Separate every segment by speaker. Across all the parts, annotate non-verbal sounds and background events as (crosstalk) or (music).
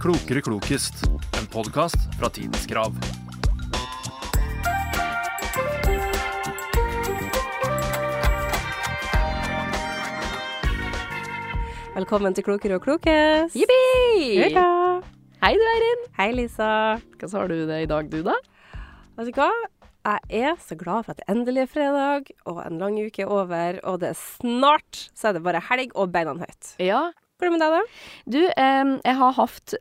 Speaker 1: Klokere klokest, en podkast fra Tidens Krav.
Speaker 2: Velkommen til Klokere og klokest.
Speaker 3: Jippi!
Speaker 2: Hurra!
Speaker 3: Hei du, Eirin.
Speaker 2: Hei, Lisa.
Speaker 3: Hva så har du det i dag, du, da?
Speaker 2: Vet du hva? Jeg er så glad for at det endelig er fredag, og en lang uke er over, og det er snart så er det bare helg og beina høyt.
Speaker 3: Ja.
Speaker 2: Går det med deg, da?
Speaker 3: Du, em, jeg har hatt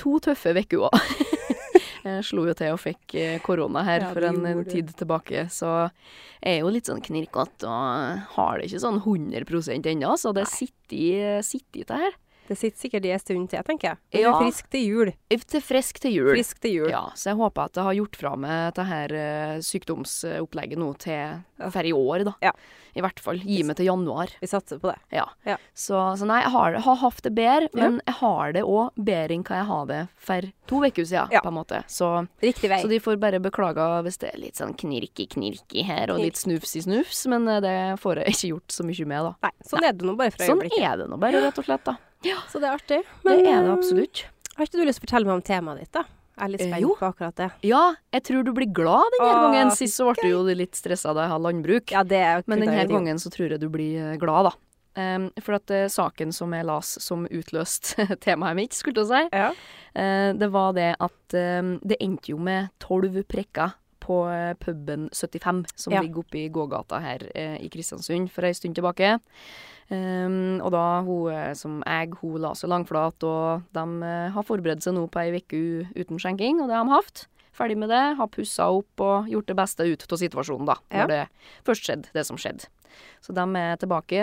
Speaker 3: to tøffe uker òg. (laughs) jeg slo jo til og fikk eh, korona her
Speaker 2: Ja,
Speaker 3: for
Speaker 2: det
Speaker 3: en
Speaker 2: gjorde du.
Speaker 3: tid tilbake, så jeg er jo litt sånn knirkete og har det ikke sånn 100 ennå, så det sitter sitter i det her.
Speaker 2: Det sitter sikkert i en stund til, tenker jeg. Men du
Speaker 3: Ja.
Speaker 2: er frisk til jul.
Speaker 3: Jeg er frisk til jul.
Speaker 2: Frisk til jul.
Speaker 3: Ja, så jeg håper at jeg har gjort fra meg det her eh, sykdomsopplegget nå til for i år, da.
Speaker 2: Ja.
Speaker 3: I hvert fall. Gi meg til januar.
Speaker 2: Vi satser på det.
Speaker 3: Ja.
Speaker 2: Ja.
Speaker 3: Så, så nei, jeg har, har hatt det bedre,
Speaker 2: Ja.
Speaker 3: men jeg har det òg bedre enn hva jeg hadde for to uker siden,
Speaker 2: Ja.
Speaker 3: på en måte. Så,
Speaker 2: Riktig vei.
Speaker 3: så de får bare beklage hvis det er litt sånn knirki-knirki her, og litt snufs i snufs, men eh, det får jeg ikke gjort så mye med, da.
Speaker 2: Nei, sånn er det nå bare for
Speaker 3: Sånn
Speaker 2: øyeblikket.
Speaker 3: er det nå bare, rett og slett, da.
Speaker 2: Så det er artig.
Speaker 3: det er
Speaker 2: eh,
Speaker 3: det absolutt.
Speaker 2: Har ikke du lyst til å fortelle meg om temaet ditt, da? Jeg er litt
Speaker 3: Eh,
Speaker 2: spent
Speaker 3: jo.
Speaker 2: på akkurat det.
Speaker 3: Ja, jeg tror du blir glad denne
Speaker 2: Åh,
Speaker 3: gangen. Sist så ble du jo litt stressa da jeg har landbruk.
Speaker 2: Ja, det er
Speaker 3: Men
Speaker 2: kunne jeg
Speaker 3: denne
Speaker 2: gjort.
Speaker 3: gangen så tror jeg du blir eh, glad, da. Em, for at eh, saken som jeg las som utløste (laughs) temaet mitt, skulle jeg si,
Speaker 2: Ja.
Speaker 3: (laughs) Eh, det var det at eh, det endte jo med tolv prikker på eh, puben 75, som
Speaker 2: Ja.
Speaker 3: ligger oppe i gågata her eh, i Kristiansund for ei stund tilbake. Eh, og da hun eh, som jeg, hun la seg langflat, og de eh, har forberedt seg nå på ei uke uten skjenking, og det har de hatt. Ferdig med det, har pussa opp og gjort det beste ut av situasjonen, da.
Speaker 2: Ja.
Speaker 3: Når det først skjedde, det som skjedde. Så de er tilbake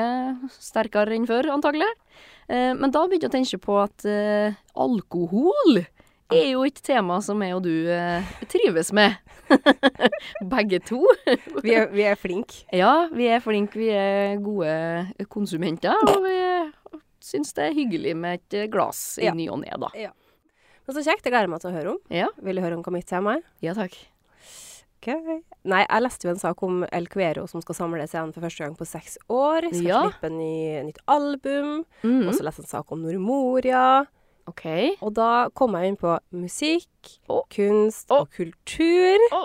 Speaker 3: sterkere enn før, antagelig. Eh, men da begynte jeg å tenke på at eh, alkohol er jo et tema som jeg og du eh, trives med. (laughs) Begge to.
Speaker 2: Vi er, vi er flinke.
Speaker 3: Ja, vi er flinke, vi er gode konsumenter, og vi syns det er hyggelig med et eh, glass i
Speaker 2: Ja.
Speaker 3: ny og ne, da.
Speaker 2: Men så kjekt. Det gleder jeg meg til å høre om.
Speaker 3: Ja.
Speaker 2: Vil du høre om hva mitt tema er?
Speaker 3: Ja takk.
Speaker 2: Ok. Nei, jeg leste jo en sak om El Cuero som skal samles igjen for første gang på seks år. Skal
Speaker 3: Ja.
Speaker 2: slippe en ny, nytt album.
Speaker 3: Mm.
Speaker 2: Og så leste jeg en sak om Nordmoria.
Speaker 3: OK.
Speaker 2: Og da kom jeg inn på musikk,
Speaker 3: Å.
Speaker 2: kunst
Speaker 3: Å.
Speaker 2: og kultur.
Speaker 3: Å.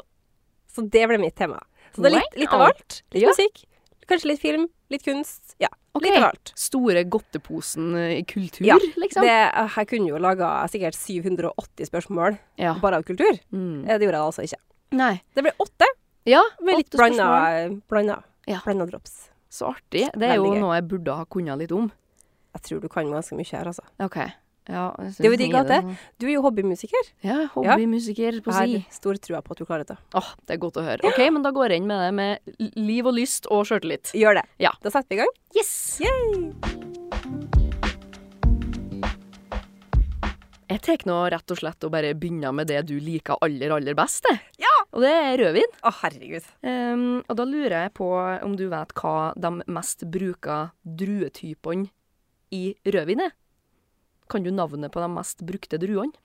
Speaker 2: Så det ble mitt tema. Så det er litt, litt av
Speaker 3: Wow.
Speaker 2: alt. Litt
Speaker 3: Ja.
Speaker 2: musikk, kanskje litt film, litt kunst. Ja,
Speaker 3: Ok.
Speaker 2: litt av alt.
Speaker 3: Store godteposen i kultur,
Speaker 2: Ja,
Speaker 3: liksom?
Speaker 2: Det, jeg kunne jo laga sikkert 780 spørsmål
Speaker 3: Ja.
Speaker 2: bare av kultur.
Speaker 3: Mm.
Speaker 2: Eh, Det gjorde jeg altså ikke.
Speaker 3: Nei.
Speaker 2: Det ble åtte
Speaker 3: Ja,
Speaker 2: med litt
Speaker 3: åtte spørsmål.
Speaker 2: blanda, blanda,
Speaker 3: Ja.
Speaker 2: blanda drops.
Speaker 3: Så artig. Det er jo
Speaker 2: Veldig gøy.
Speaker 3: noe jeg burde ha kunnet litt om.
Speaker 2: Jeg tror du kan ganske mye her, altså.
Speaker 3: OK. Ja, jeg
Speaker 2: Det er jo
Speaker 3: synes
Speaker 2: digg
Speaker 3: mye
Speaker 2: at det- Du er jo hobbymusiker.
Speaker 3: Ja, hobbymusiker på
Speaker 2: Jeg
Speaker 3: si.
Speaker 2: har stor trua på at du klarer det.
Speaker 3: Åh, det er godt å høre. OK, men da går jeg inn med det med l- liv og lyst og sjøltillit.
Speaker 2: Gjør det.
Speaker 3: Ja.
Speaker 2: Da setter vi i gang.
Speaker 3: Yes!
Speaker 2: Yay!
Speaker 3: Jeg tar nå rett og slett og bare begynner med det du liker aller, aller best, det. Ja! Og det er rødvin.
Speaker 2: Å, herregud.
Speaker 3: Ehm, og da lurer jeg på om du vet hva de mest bruka druetypene i rødvin er? Kan du navnet på de mest brukte druene?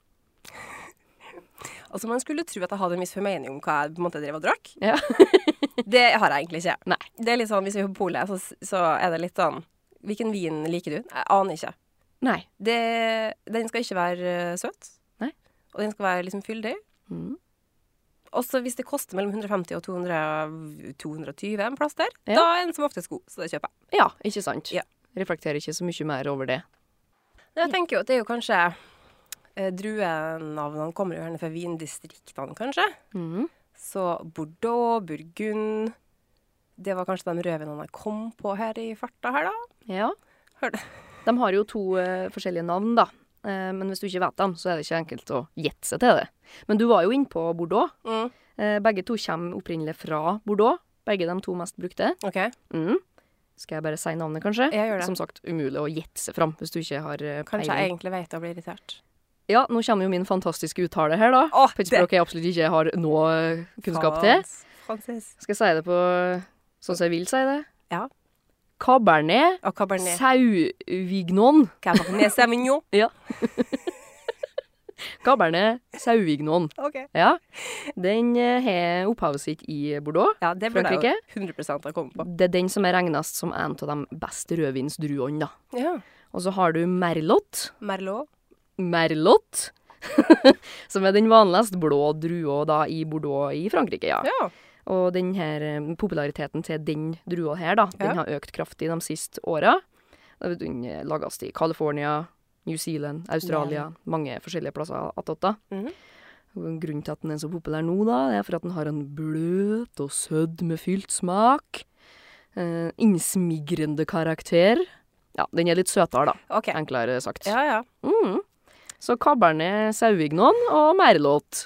Speaker 2: Altså, Man skulle tro at jeg hadde en viss formening om hva jeg på en måte drev og drakk.
Speaker 3: Ja.
Speaker 2: (laughs) det har jeg egentlig ikke.
Speaker 3: Nei.
Speaker 2: Det er litt sånn, Hvis vi er på polet, så, så er det litt sånn Hvilken vin liker du? Jeg aner ikke.
Speaker 3: Nei.
Speaker 2: Det, den skal ikke være eh, søt.
Speaker 3: Nei.
Speaker 2: Og den skal være liksom fyldig.
Speaker 3: Mm.
Speaker 2: Også hvis det koster mellom 150 og eh, 200, 220 en plass der,
Speaker 3: Ja.
Speaker 2: da er den som oftest god, så det kjøper jeg.
Speaker 3: Ja, ikke sant?
Speaker 2: Ja.
Speaker 3: Reflekterer ikke så mye mer over det.
Speaker 2: Men Jeg tenker jo at det er jo kanskje eh, Druenavnene kommer jo gjerne fra vindistriktene, kanskje.
Speaker 3: Mm.
Speaker 2: Så Bordeaux, Burgund Det var kanskje de rødvinene jeg kom på her i farta her, da.
Speaker 3: Ja.
Speaker 2: Hør det.
Speaker 3: De har jo to eh, forskjellige navn, da. Eh, men hvis du ikke vet dem, så er det ikke enkelt å gjette seg til det. Men du var jo inne på Bordeaux.
Speaker 2: Mm.
Speaker 3: Eh, begge to kommer opprinnelig fra Bordeaux. Begge de to mest brukte.
Speaker 2: OK.
Speaker 3: Mm. Skal jeg bare si navnet, kanskje?
Speaker 2: Ja, gjør det.
Speaker 3: Som sagt, umulig å gjette seg fram hvis du ikke har eh,
Speaker 2: Kanskje jeg
Speaker 3: peiling.
Speaker 2: egentlig vet jeg blir irritert.
Speaker 3: Ja, nå kommer jo min fantastiske uttale her, da.
Speaker 2: Åh,
Speaker 3: På et
Speaker 2: det-
Speaker 3: språk jeg absolutt ikke har noe eh, kunnskap til.
Speaker 2: Frans- Francis.
Speaker 3: Skal jeg si det på sånn som jeg vil si det?
Speaker 2: Ja.
Speaker 3: Cabernet
Speaker 2: Og Cabernet.
Speaker 3: Sauvignon.
Speaker 2: Cabernet
Speaker 3: (laughs)
Speaker 2: Sauvignon.
Speaker 3: Cabernet Sauvignon.
Speaker 2: OK.
Speaker 3: Ja. Den eh, har opphavet sitt i Bordeaux.
Speaker 2: Ja, det burde jeg
Speaker 3: Frankrike?
Speaker 2: jo 100 ha kommet på.
Speaker 3: Det er den som er regnes som en av de beste rødvinsdruene, da.
Speaker 2: Ja.
Speaker 3: Og så har du Merlot.
Speaker 2: Merlot.
Speaker 3: merlot. (laughs) som er den vanligst blå drua da i Bordeaux i Frankrike, ja.
Speaker 2: Ja.
Speaker 3: Og den her, eh, populariteten til den drua her, da,
Speaker 2: Ja.
Speaker 3: den har økt kraftig de siste åra. Da vet du, Den eh, lages i California, New Zealand, Australia, mange forskjellige plasser attåt. da.
Speaker 2: Mhm.
Speaker 3: Og Grunnen til at den er så populær nå, da, det er for at den har en bløt og sødmefylt smak. Eh, innsmigrende karakter. Ja, den er litt søtere, da.
Speaker 2: OK.
Speaker 3: Enklere sagt.
Speaker 2: Ja, ja.
Speaker 3: Mm. Så Cabernet Sauvignon og Merlot.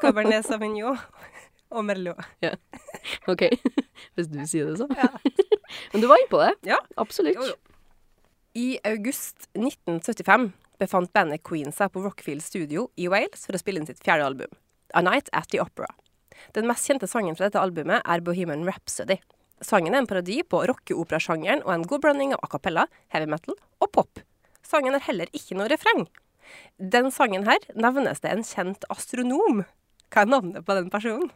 Speaker 2: Cabernet Sauvignon (laughs) og Merlot.
Speaker 3: OK. (laughs) Hvis du sier det, så. (laughs) Men du var inne på det.
Speaker 2: Ja.
Speaker 3: Absolutt.
Speaker 2: Jo, jo. I august 1975 befant bandet Queen seg på Rockfield Studio i Wales for å spille inn sitt fjerde album, A Night at the Opera. Den mest kjente sangen fra dette albumet er Bohemian Rhapsody. Sangen er en parodi på rockeoperasjangeren og en god blanding av a cappella, heavy metal og pop. Sangen har heller ikke noe refreng. Den sangen her nevnes det en kjent astronom. Hva er navnet på den personen?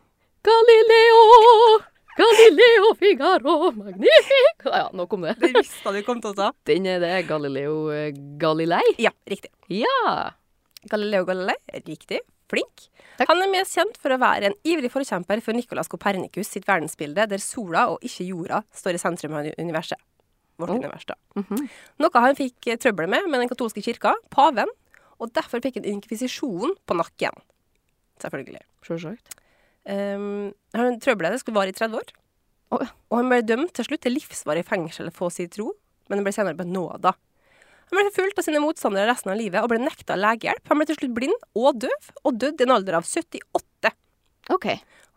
Speaker 3: Galileo! Galileo Figaro Magnifico Ja, nok om det.
Speaker 2: Det visste du kom til å ta.
Speaker 3: Den er det. Galileo eh, Galilei.
Speaker 2: (laughs) Ja, riktig.
Speaker 3: Ja.
Speaker 2: Galileo Galilei, riktig, flink.
Speaker 3: Takk.
Speaker 2: Han er mest kjent for å være en ivrig forkjemper for Nicolas Copernicus sitt verdensbilde, der sola og ikke jorda står i sentrum av universet. Vårt
Speaker 3: Oh.
Speaker 2: univers, da.
Speaker 3: Mhm.
Speaker 2: Noe han fikk eh, trøbbel med med den katolske kirka, paven, og derfor fikk han inkvisisjonen på nakken. Selvfølgelig.
Speaker 3: Sjølsagt.
Speaker 2: Um, han trøbbelet skulle vare i 30 år,
Speaker 3: Å, ja.
Speaker 2: og han ble dømt til slutt til livsvarig fengsel for sin tro, men han ble senere benåda. Han ble forfulgt av sine motstandere resten av livet og ble nekta legehjelp. Han ble til slutt blind og døv, og døde i en alder av 78.
Speaker 3: OK.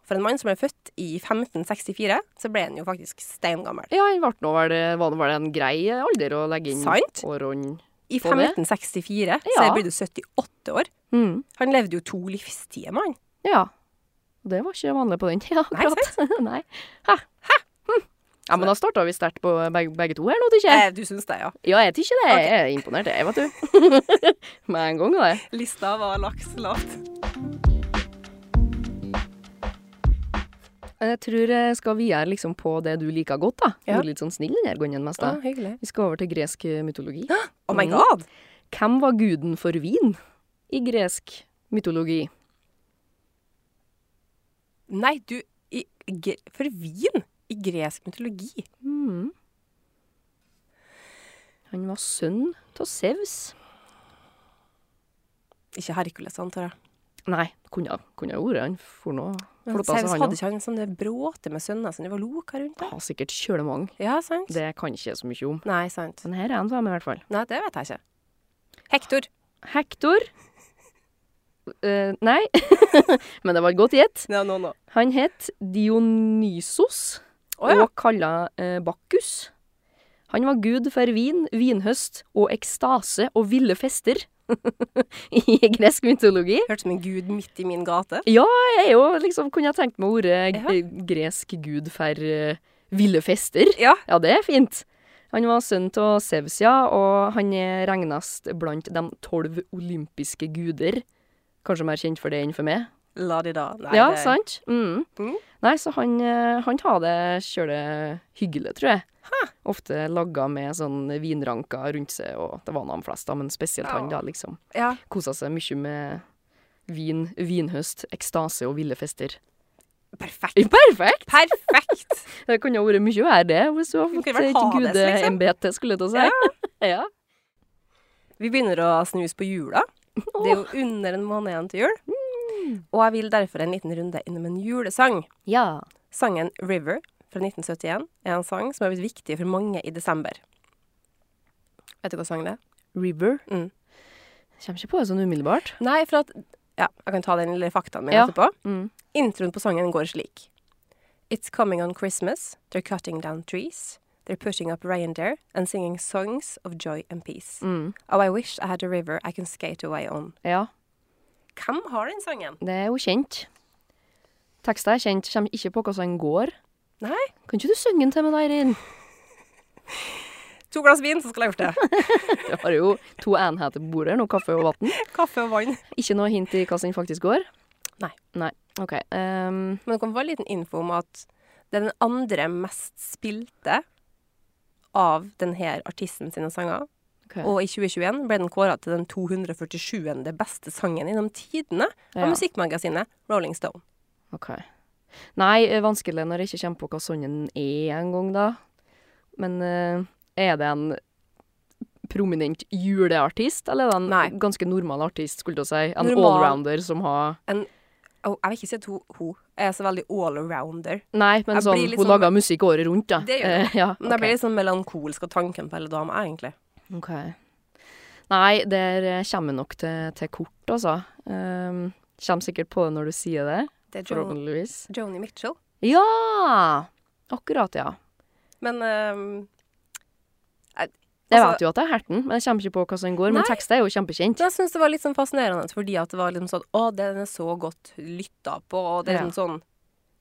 Speaker 2: For en mann som ble født i 1564, så ble han jo faktisk steingammel.
Speaker 3: Ja, han ble nå vel Var det var det en grei alder å legge inn
Speaker 2: Sant.
Speaker 3: årene?
Speaker 2: I
Speaker 3: På det?
Speaker 2: 1564 så
Speaker 3: Ja.
Speaker 2: ble du 78 år.
Speaker 3: Mm.
Speaker 2: Han levde jo to livstider, mann.
Speaker 3: Ja. Det var ikke vanlig på den tida,
Speaker 2: Nei,
Speaker 3: akkurat. (laughs) Nei. Hæ? Hm. Ja, men da starta vi sterkt på begge, begge to her nå, tykker jeg.
Speaker 2: Eh, du syns det, ja.
Speaker 3: Ja, jeg tykker det.
Speaker 2: ok.
Speaker 3: Jeg er imponert, jeg, vet du. (laughs) Med en gang, det.
Speaker 2: Lista var laks lavt.
Speaker 3: Jeg tror jeg skal videre liksom på det du liker godt, da.
Speaker 2: Ja.
Speaker 3: Du er litt sånn snill denne gangen mest, da.
Speaker 2: hyggelig.
Speaker 3: Vi skal over til gresk eh, mytologi.
Speaker 2: Oh my
Speaker 3: Mm.
Speaker 2: god!
Speaker 3: Hvem var guden for vin i gresk mytologi?
Speaker 2: Nei, du i, gre- For vin i gresk mytologi
Speaker 3: Hmm. Han var sønn av Sevs.
Speaker 2: Ikke Herkules, antar jeg.
Speaker 3: Nei, kunne kunne ha ordet. Han for noe.
Speaker 2: Men
Speaker 3: Flotta seg
Speaker 2: Zeus
Speaker 3: han
Speaker 2: hadde
Speaker 3: òg.
Speaker 2: ikke han en sånn der bråte med sønner som det var loka rundt der?
Speaker 3: Har sikkert kjølemange.
Speaker 2: Ja, sant?
Speaker 3: Det kan ikke jeg så mye om.
Speaker 2: Nei, sant.
Speaker 3: Men her er han sammen, i hvert fall.
Speaker 2: Nei, det vet jeg ikke. Hektor.
Speaker 3: Hektor Eh, Nei, (laughs) men det var et godt gjett.
Speaker 2: Ja, nå, nå.
Speaker 3: Han het Dionysos
Speaker 2: Å ja.
Speaker 3: og kalla eh, Bakkus. Han var gud for vin, vinhøst og ekstase og ville fester (laughs) i gresk mytologi.
Speaker 2: Hørtes ut som en gud midt i min gate.
Speaker 3: Jeg er jo liksom, kunne jeg tenkt meg ordet g- gresk gud for eh, ville fester.
Speaker 2: Ja.
Speaker 3: Ja, det er fint. Han var sønn av Sevs, ja, og han er regnast blant de tolv olympiske guder. Kanskje mer kjent for det enn for meg.
Speaker 2: La de da. Nei,
Speaker 3: ja,
Speaker 2: det-
Speaker 3: sant? Mm.
Speaker 2: Mm.
Speaker 3: Nei, så han, eh, han tar det kjøle hyggelig, tror jeg. Ofte lagga med sånn vinranker rundt seg, og det var nå de fleste, men spesielt han, da, liksom.
Speaker 2: Ja.
Speaker 3: Kosa seg mye med vin, vinhøst, ekstase og ville fester.
Speaker 2: Perfekt.
Speaker 3: (laughs) Perfekt!
Speaker 2: Perfekt!
Speaker 3: Det kunne jo vært mye verre, det, hvis du har
Speaker 2: Du kunne
Speaker 3: fått
Speaker 2: vel
Speaker 3: et
Speaker 2: ha det, liksom.
Speaker 3: gudeembete, skulle jeg til å si. (laughs) Ja.
Speaker 2: Vi begynner å snuse på jula. Det er jo under en måned igjen til jul.
Speaker 3: Mm.
Speaker 2: Og jeg vil derfor en liten runde innom en julesang.
Speaker 3: ja.
Speaker 2: Sangen 'River' fra 1971 er en sang som har blitt viktig for mange i desember. Vet du hva sang det er?
Speaker 3: River.
Speaker 2: Mm.
Speaker 3: Kommer ikke på det sånn umiddelbart.
Speaker 2: Nei, for at Ja, jeg kan ta den lille faktaen min
Speaker 3: Ja.
Speaker 2: etterpå.
Speaker 3: Mm.
Speaker 2: Introen på sangen går slik. It's coming on Christmas, they're cutting down trees, they're pushing up reindeer and singing songs of joy and peace.
Speaker 3: Mm.
Speaker 2: Oh, I wish I had a river I can skate away on.
Speaker 3: Ja.
Speaker 2: Hvem har den sangen?
Speaker 3: Det er jo kjent. Teksten er kjent, kommer ikke på hvordan den går.
Speaker 2: Nei?
Speaker 3: Kan ikke du synge den til meg, da, Eirin? (laughs)
Speaker 2: To glass vin, så skal jeg gjort det.
Speaker 3: Jeg har jo to enheter på bordet her nå, kaffe og vann.
Speaker 2: (laughs) Kaffe og vann.
Speaker 3: Ikke noe hint i hvordan den faktisk går?
Speaker 2: Nei.
Speaker 3: Nei, ok. ehm,
Speaker 2: Men det kan få en liten info om at det er den andre mest spilte av denne artisten sine sanger
Speaker 3: Ok.
Speaker 2: Og i 2021 ble den kåra til den 247. beste sangen gjennom tidene av
Speaker 3: Ja.
Speaker 2: musikkmagasinet Rolling Stone.
Speaker 3: Ok. Nei, eh, vanskelig når jeg ikke kommer på hva sånn en er engang, da. Men eh, er det en prominent juleartist, eller er det en
Speaker 2: Nei.
Speaker 3: ganske normal artist, skulle jeg si? En
Speaker 2: Normal.
Speaker 3: allrounder som har
Speaker 2: Og jeg vil ikke si at hun, hun er så veldig all-arounder.
Speaker 3: Nei, men
Speaker 2: Jeg
Speaker 3: sånn,
Speaker 2: blir litt
Speaker 3: hun
Speaker 2: sånn-
Speaker 3: lager musikk året rundt, da.
Speaker 2: Det gjør
Speaker 3: Eh, ja,
Speaker 2: Men jeg
Speaker 3: ok.
Speaker 2: blir litt sånn melankolsk av tanken på hele dama, egentlig.
Speaker 3: Ok. Nei, der eh, kommer jeg nok til, til kort, altså. Um, kommer sikkert på det når du sier det,
Speaker 2: Det er jo
Speaker 3: forhåpentligvis.
Speaker 2: Joni Mitchell.
Speaker 3: Ja! Akkurat, ja.
Speaker 2: Men ehm,
Speaker 3: Jeg
Speaker 2: Altså-
Speaker 3: vet jo at det er Herten, men jeg kommer ikke på hva som går.
Speaker 2: Nei.
Speaker 3: Men teksten er jo kjempekjent.
Speaker 2: jeg syns det var litt sånn fascinerende fordi at det var liksom sånn Å, den er så godt lytta på, og det er
Speaker 3: Ja.
Speaker 2: liksom sånn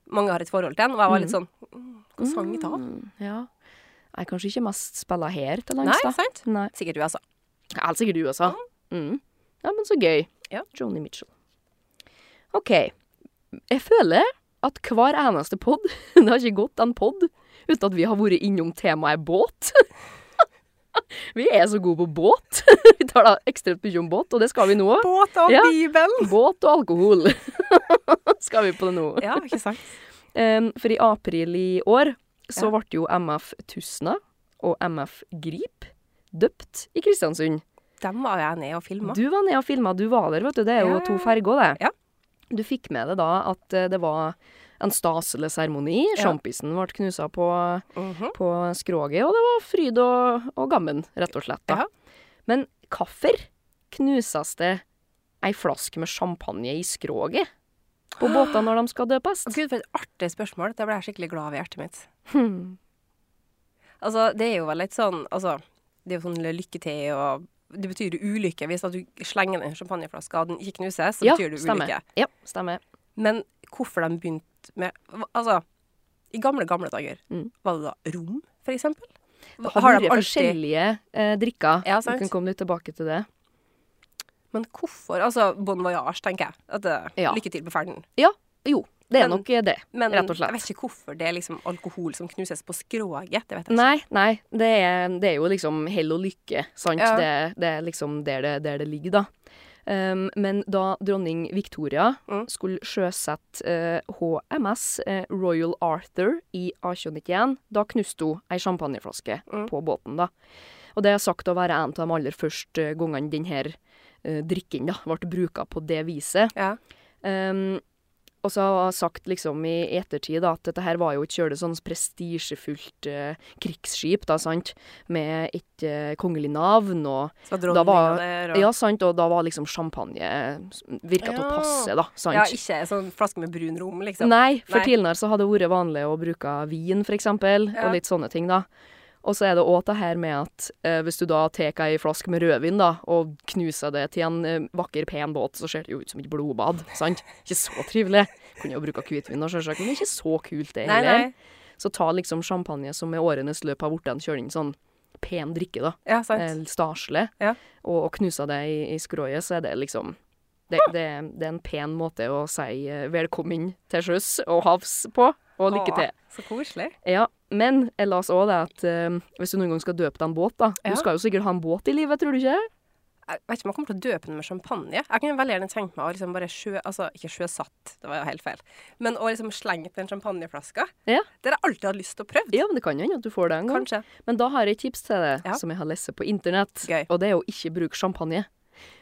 Speaker 2: Mange har et forhold til den, og jeg var litt sånn mm, Hva sang i da?
Speaker 3: Mm, ja. Nei, kanskje ikke mest spilla her til
Speaker 2: Nei,
Speaker 3: lands, da.
Speaker 2: sant?
Speaker 3: Nei.
Speaker 2: Sikkert USA.
Speaker 3: Ja, sikkert USA. Mm. Ja, men så gøy.
Speaker 2: Ja.
Speaker 3: Joni Mitchell. OK. Jeg føler at hver eneste pod (laughs) Det har ikke gått en pod uten at vi har vært innom temaet båt. (laughs) vi er så gode på båt. (laughs) vi tar da ekstremt mye om båt, og det skal vi nå.
Speaker 2: Båt og
Speaker 3: Ja.
Speaker 2: Bibelen!
Speaker 3: Båt og alkohol (laughs) skal vi på det nå.
Speaker 2: Ja, ikke sant?
Speaker 3: Em, Ehm, for i april i år så
Speaker 2: Ja.
Speaker 3: ble jo MF Tusna og MF Grip døpt i Kristiansund.
Speaker 2: Dem var jeg nede og filma.
Speaker 3: Du var nede og filma, du var der, vet du. Det er jo
Speaker 2: Ja,
Speaker 3: to
Speaker 2: ja.
Speaker 3: ferger, det.
Speaker 2: Ja.
Speaker 3: Du fikk med deg da at eh, det var en staselig seremoni.
Speaker 2: Ja.
Speaker 3: Sjampisen ble knusa på,
Speaker 2: Mhm.
Speaker 3: på skroget, og det var fryd og, og gammen, rett og slett. Da.
Speaker 2: Ja.
Speaker 3: Men hvorfor knuses det ei flaske med champagne i skroget på båter når de skal døpes?
Speaker 2: Å, Gud, for et artig spørsmål. Da ble jeg skikkelig glad over hjertet mitt.
Speaker 3: Hmm.
Speaker 2: Altså, det er jo vel litt sånn Altså, det er jo sånn lykke til og Det betyr jo ulykke. Hvis at du slenger den champagneflaska og den ikke knuses, så betyr det
Speaker 3: stemmer.
Speaker 2: ulykke.
Speaker 3: Ja, stemmer.
Speaker 2: Men hvorfor de begynte med Altså, i gamle, gamle dager,
Speaker 3: Mm.
Speaker 2: var det da rom, for eksempel?
Speaker 3: Det har,
Speaker 2: Har de
Speaker 3: vært
Speaker 2: alltid
Speaker 3: forskjellige eh, drikker.
Speaker 2: Ja,
Speaker 3: Vi
Speaker 2: sant.
Speaker 3: kan komme litt tilbake til det.
Speaker 2: Men hvorfor? Altså, bon voyage, tenker jeg. At det,
Speaker 3: Ja.
Speaker 2: Lykke til på ferden.
Speaker 3: Jo, det
Speaker 2: Men-
Speaker 3: er nok det.
Speaker 2: Men
Speaker 3: Rett og slett.
Speaker 2: jeg vet ikke hvorfor det er liksom alkohol som knuses på skroget. Det vet jeg ikke.
Speaker 3: Nei, nei. Det er, det er jo liksom hell og lykke, sant.
Speaker 2: Ja.
Speaker 3: Det, det er liksom der det, der det ligger, da. Um, men da dronning Victoria
Speaker 2: Mm.
Speaker 3: skulle sjøsette eh, HMS eh, Royal Arthur i A291, da knuste hun ei champagneflaske
Speaker 2: Mm.
Speaker 3: på båten, da. Og det er sagt å være en av de aller første eh, gangene denne uh, drikken da, ble bruka på det viset.
Speaker 2: Ja.
Speaker 3: Um, og så har jeg sagt liksom i ettertid da, at dette her var jo et kjølig sånn prestisjefullt eh, krigsskip, da, sant? Med et eh, kongelig navn og
Speaker 2: Så var
Speaker 3: Da
Speaker 2: dronninga
Speaker 3: var-
Speaker 2: der og
Speaker 3: Ja, sant, og da var liksom champagne eh, s- Virka til å
Speaker 2: Ja.
Speaker 3: passe, da, sant?
Speaker 2: Ja, ikke en sånn flaske med brun rom, liksom.
Speaker 3: Nei, for
Speaker 2: Nei.
Speaker 3: tidligere så har det vært vanlig å bruke vin, for eksempel,
Speaker 2: Ja.
Speaker 3: og litt sånne ting, da. Og så er det òg det her med at eh, hvis du da tar ei flaske med rødvin, da, og knuser det til en eh, vakker, pen båt, så ser det jo ut som et blodbad, sant? Ikke så trivelig. Kunne jo bruka hvitvin, da, sjølsagt, men ikke så kult, det
Speaker 2: nei,
Speaker 3: heller.
Speaker 2: nei.
Speaker 3: Så ta liksom champagne som med årenes løp har blitt en kjøling sånn pen drikke, da.
Speaker 2: Ja, sant.
Speaker 3: eh, Staselig.
Speaker 2: Ja.
Speaker 3: Og, og knuser det i, i skroget, så er det liksom det, det, det er en pen måte å si eh, velkommen til sjøs og havs på, og lykke til.
Speaker 2: Å, så koselig.
Speaker 3: Ja, men jeg las òg det at eh, hvis du noen gang skal døpe deg en båt, da
Speaker 2: Ja.
Speaker 3: Du skal jo sikkert ha en båt i livet, tror du ikke?
Speaker 2: Jeg vet ikke om jeg kommer til å døpe den med champagne. Jeg kunne veldig gjerne tenkt meg å liksom bare sjø... Altså, ikke sjøsatt, det var jo helt feil. Men å liksom slenge på en champagneflaske.
Speaker 3: Ja.
Speaker 2: Det har jeg alltid hatt lyst til å prøve.
Speaker 3: Ja, men det kan jo hende at du får det en gang.
Speaker 2: Kanskje.
Speaker 3: Men da har jeg et tips til deg
Speaker 2: Ja.
Speaker 3: som jeg har lest på internett,
Speaker 2: Gøy.
Speaker 3: og det er å ikke bruke champagne.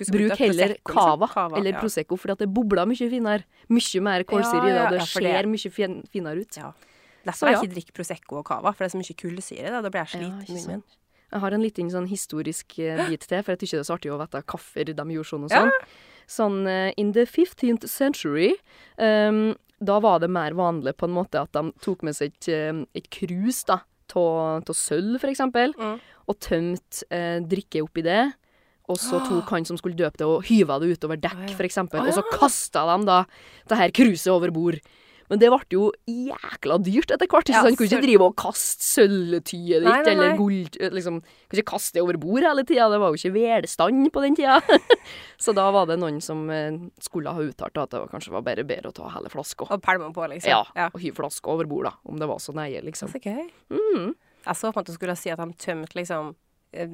Speaker 2: Skulle
Speaker 3: Bruk
Speaker 2: brukt
Speaker 3: heller
Speaker 2: Prosecco, liksom.
Speaker 3: cava eller
Speaker 2: ja.
Speaker 3: prosecco, fordi at det bobler mye finere. Mye mer kålsyre i det,
Speaker 2: Ja, ja, ja,
Speaker 3: og det
Speaker 2: for det-
Speaker 3: ser mye fin finere ut.
Speaker 2: Ja.
Speaker 3: Så
Speaker 2: Derfor jeg
Speaker 3: ja.
Speaker 2: ikke drikker Prosecco og cava, for det er så mye kullsyre. Da, da blir jeg
Speaker 3: Ja,
Speaker 2: sliten i
Speaker 3: ikke
Speaker 2: munnen min.
Speaker 3: sant. Jeg har en liten sånn historisk eh, bit til, for jeg tykker det er så artig å vite hvorfor de gjorde sånn og
Speaker 2: Ja.
Speaker 3: sånn. Sånn eh, in the 15th century ehm, Da var det mer vanlig på en måte at de tok med seg et, eh, et krus da, av sølv, for eksempel,
Speaker 2: Mm.
Speaker 3: og tømte eh, drikke oppi det. Og så
Speaker 2: (gasps)
Speaker 3: tok han som skulle døpe det, og hyva det utover
Speaker 2: Å,
Speaker 3: dekk,
Speaker 2: ja.
Speaker 3: for eksempel.
Speaker 2: Å,
Speaker 3: Og så
Speaker 2: ja.
Speaker 3: kasta de da det her kruset over bord. Men det ble jo jækla dyrt etter hvert. ikke
Speaker 2: Ja,
Speaker 3: sant? Du kunne ikke
Speaker 2: sølv.
Speaker 3: drive og kaste sølvtyet ditt
Speaker 2: Nei, nei,
Speaker 3: eller
Speaker 2: nei.
Speaker 3: gull liksom, Kunne ikke kaste det over bord hele tida, det var jo ikke velstand på den tida. (laughs) så da var det noen som eh, skulle ha uttalt at det var- kanskje var bare bedre å ta hele flaska.
Speaker 2: Og pælma på, liksom.
Speaker 3: Ja,
Speaker 2: ja. Altså,
Speaker 3: og hive flaska over bord, da, om det var så nøye, liksom.
Speaker 2: Så gøy.
Speaker 3: Mm.
Speaker 2: Jeg så på at du skulle si at de tømte liksom eh,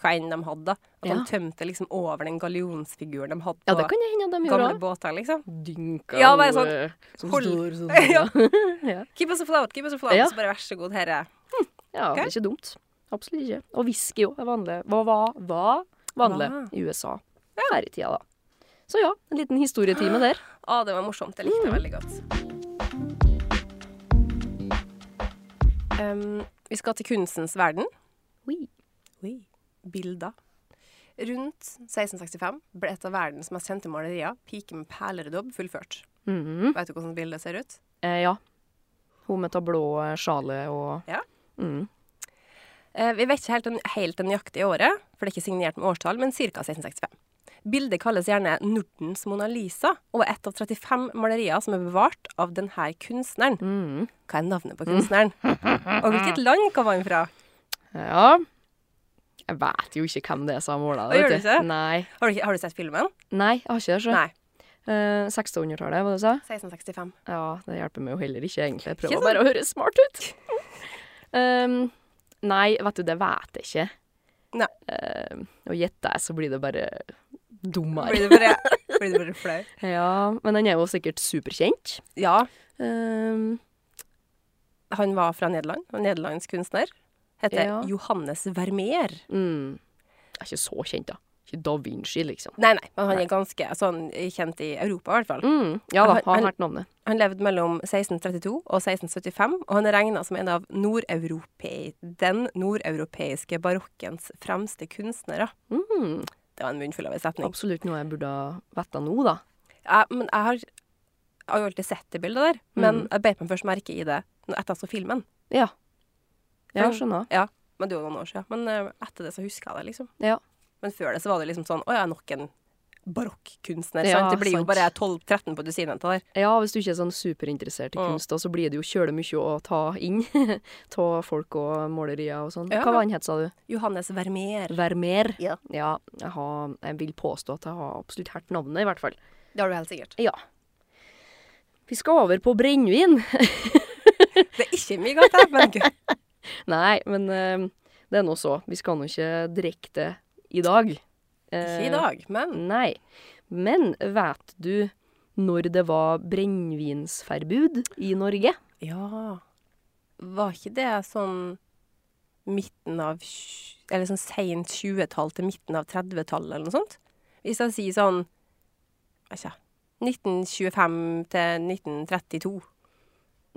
Speaker 2: hva enn de hadde. da. At
Speaker 3: Ja.
Speaker 2: de tømte liksom over den gallionsfiguren de hadde
Speaker 3: Ja,
Speaker 2: på
Speaker 3: det kan det hende at de gjør
Speaker 2: gamle
Speaker 3: òg.
Speaker 2: båter, liksom.
Speaker 3: Dynka
Speaker 2: Ja, bare sånn,
Speaker 3: noe som
Speaker 2: hold- (laughs)
Speaker 3: står sånn.
Speaker 2: Ja.
Speaker 3: ja.
Speaker 2: Keep us afloat, keep us afloat.
Speaker 3: Ja.
Speaker 2: Så bare vær så god, herre.
Speaker 3: Ja,
Speaker 2: Ok.
Speaker 3: det er ikke dumt. Absolutt ikke. Og whisky òg er vanlig. Hva var var vanlig
Speaker 2: Hva?
Speaker 3: i USA her i tida, da. Så ja, en
Speaker 2: (gasps)
Speaker 3: liten historietime der.
Speaker 2: Å, det var morsomt. Jeg likte det veldig godt. Um, vi skal til kunstens verden.
Speaker 3: Oi.
Speaker 2: Bilder. Rundt 1665 ble et av verdens mest kjente malerier, 'Pike med perledobb', fullført.
Speaker 3: Mhm.
Speaker 2: Vet du hvordan bildet ser ut?
Speaker 3: eh, ja. Hun med det blå eh, sjalet og
Speaker 2: Ja.
Speaker 3: Mhm.
Speaker 2: Eh, vi vet ikke helt, den- helt det nøyaktige året, for det er ikke signert med årstall, men ca. 1665. Bildet kalles gjerne Nordens Mona Lisa, og er ett av 35 malerier som er bevart av denne kunstneren.
Speaker 3: Mhm.
Speaker 2: Hva er navnet på kunstneren? Og hvilket land kom han fra?
Speaker 3: Ja. Jeg vet jo ikke hvem det er som har måla
Speaker 2: Å,
Speaker 3: det.
Speaker 2: gjør
Speaker 3: vet
Speaker 2: du ikke?
Speaker 3: Nei.
Speaker 2: Har du, ikke- har du sett filmen?
Speaker 3: Nei, jeg har ikke det. så.
Speaker 2: Nei.
Speaker 3: Eh, 1600-tallet, var det du sa?
Speaker 2: 1665.
Speaker 3: Ja, det hjelper meg jo heller ikke, egentlig. Jeg
Speaker 2: Ikke
Speaker 3: prøver
Speaker 2: sant?
Speaker 3: bare å høre smart ut. um, nei, vet du, det vet jeg ikke.
Speaker 2: Nei.
Speaker 3: Um, og gjetter jeg, så blir det bare dummere.
Speaker 2: Blir du bare, (laughs) blir du bare flau?
Speaker 3: Ja, men den er jo sikkert superkjent.
Speaker 2: Ja,
Speaker 3: Um,
Speaker 2: han var fra Nederland. En nederlandsk kunstner. Heter
Speaker 3: Ja.
Speaker 2: Johannes Vermeer.
Speaker 3: mm, jeg er ikke så kjent, da. Ikke Da Vinci, liksom.
Speaker 2: Nei, nei, men han er ganske sånn kjent i Europa, i hvert fall.
Speaker 3: Mm, ja da,
Speaker 2: Han-
Speaker 3: har
Speaker 2: han-
Speaker 3: hørt navnet.
Speaker 2: Han levde mellom 1632 og 1675, og han er regna som en av nordeurope- den nordeuropeiske barokkens fremste kunstnere.
Speaker 3: Mm,
Speaker 2: Det var en munnfull av en setning.
Speaker 3: absolutt noe jeg burde vite nå, da.
Speaker 2: Jeg, men jeg har, jeg har jo alltid sett det bildet der, men jeg beit meg først merke i det når- etter jeg så filmen.
Speaker 3: Ja. Ja,
Speaker 2: For-
Speaker 3: skjønner.
Speaker 2: Ja, men det var noen år siden. Men eh, etter det så husker jeg det, liksom.
Speaker 3: Ja.
Speaker 2: Men før det så var det liksom sånn, å ja, nok en barokkunstner,
Speaker 3: Ja,
Speaker 2: sant? Det blir jo
Speaker 3: sant.
Speaker 2: bare 12-13 på dusinet av der.
Speaker 3: Ja, hvis du ikke er sånn superinteressert i
Speaker 2: Mm.
Speaker 3: kunst, da, så blir det jo kjøle mye å ta inn. (laughs) ta folk og malerier og sånn.
Speaker 2: Ja.
Speaker 3: Hva var han het, sa du?
Speaker 2: Johannes Vermeer.
Speaker 3: Vermeer?
Speaker 2: Ja.
Speaker 3: jeg, har, jeg vil påstå at jeg har absolutt hørt navnet, i hvert fall.
Speaker 2: Det har du helt sikkert.
Speaker 3: Ja. Vi skal over på brennevin. (laughs)
Speaker 2: Det er ikke mye godt her, (laughs) men gøy.
Speaker 3: Nei, men eh, det er nå så. Vi skal nå ikke drikke det i dag.
Speaker 2: Ikke i dag, men
Speaker 3: Nei. Men vet du når det var brennevinsforbud i Norge?
Speaker 2: Ja. Var ikke det sånn midten av tj- Eller sånn seint 20-tall til midten av 30-tallet, eller noe sånt? Hvis jeg sier sånn Vet ikke. 1925 til 1932.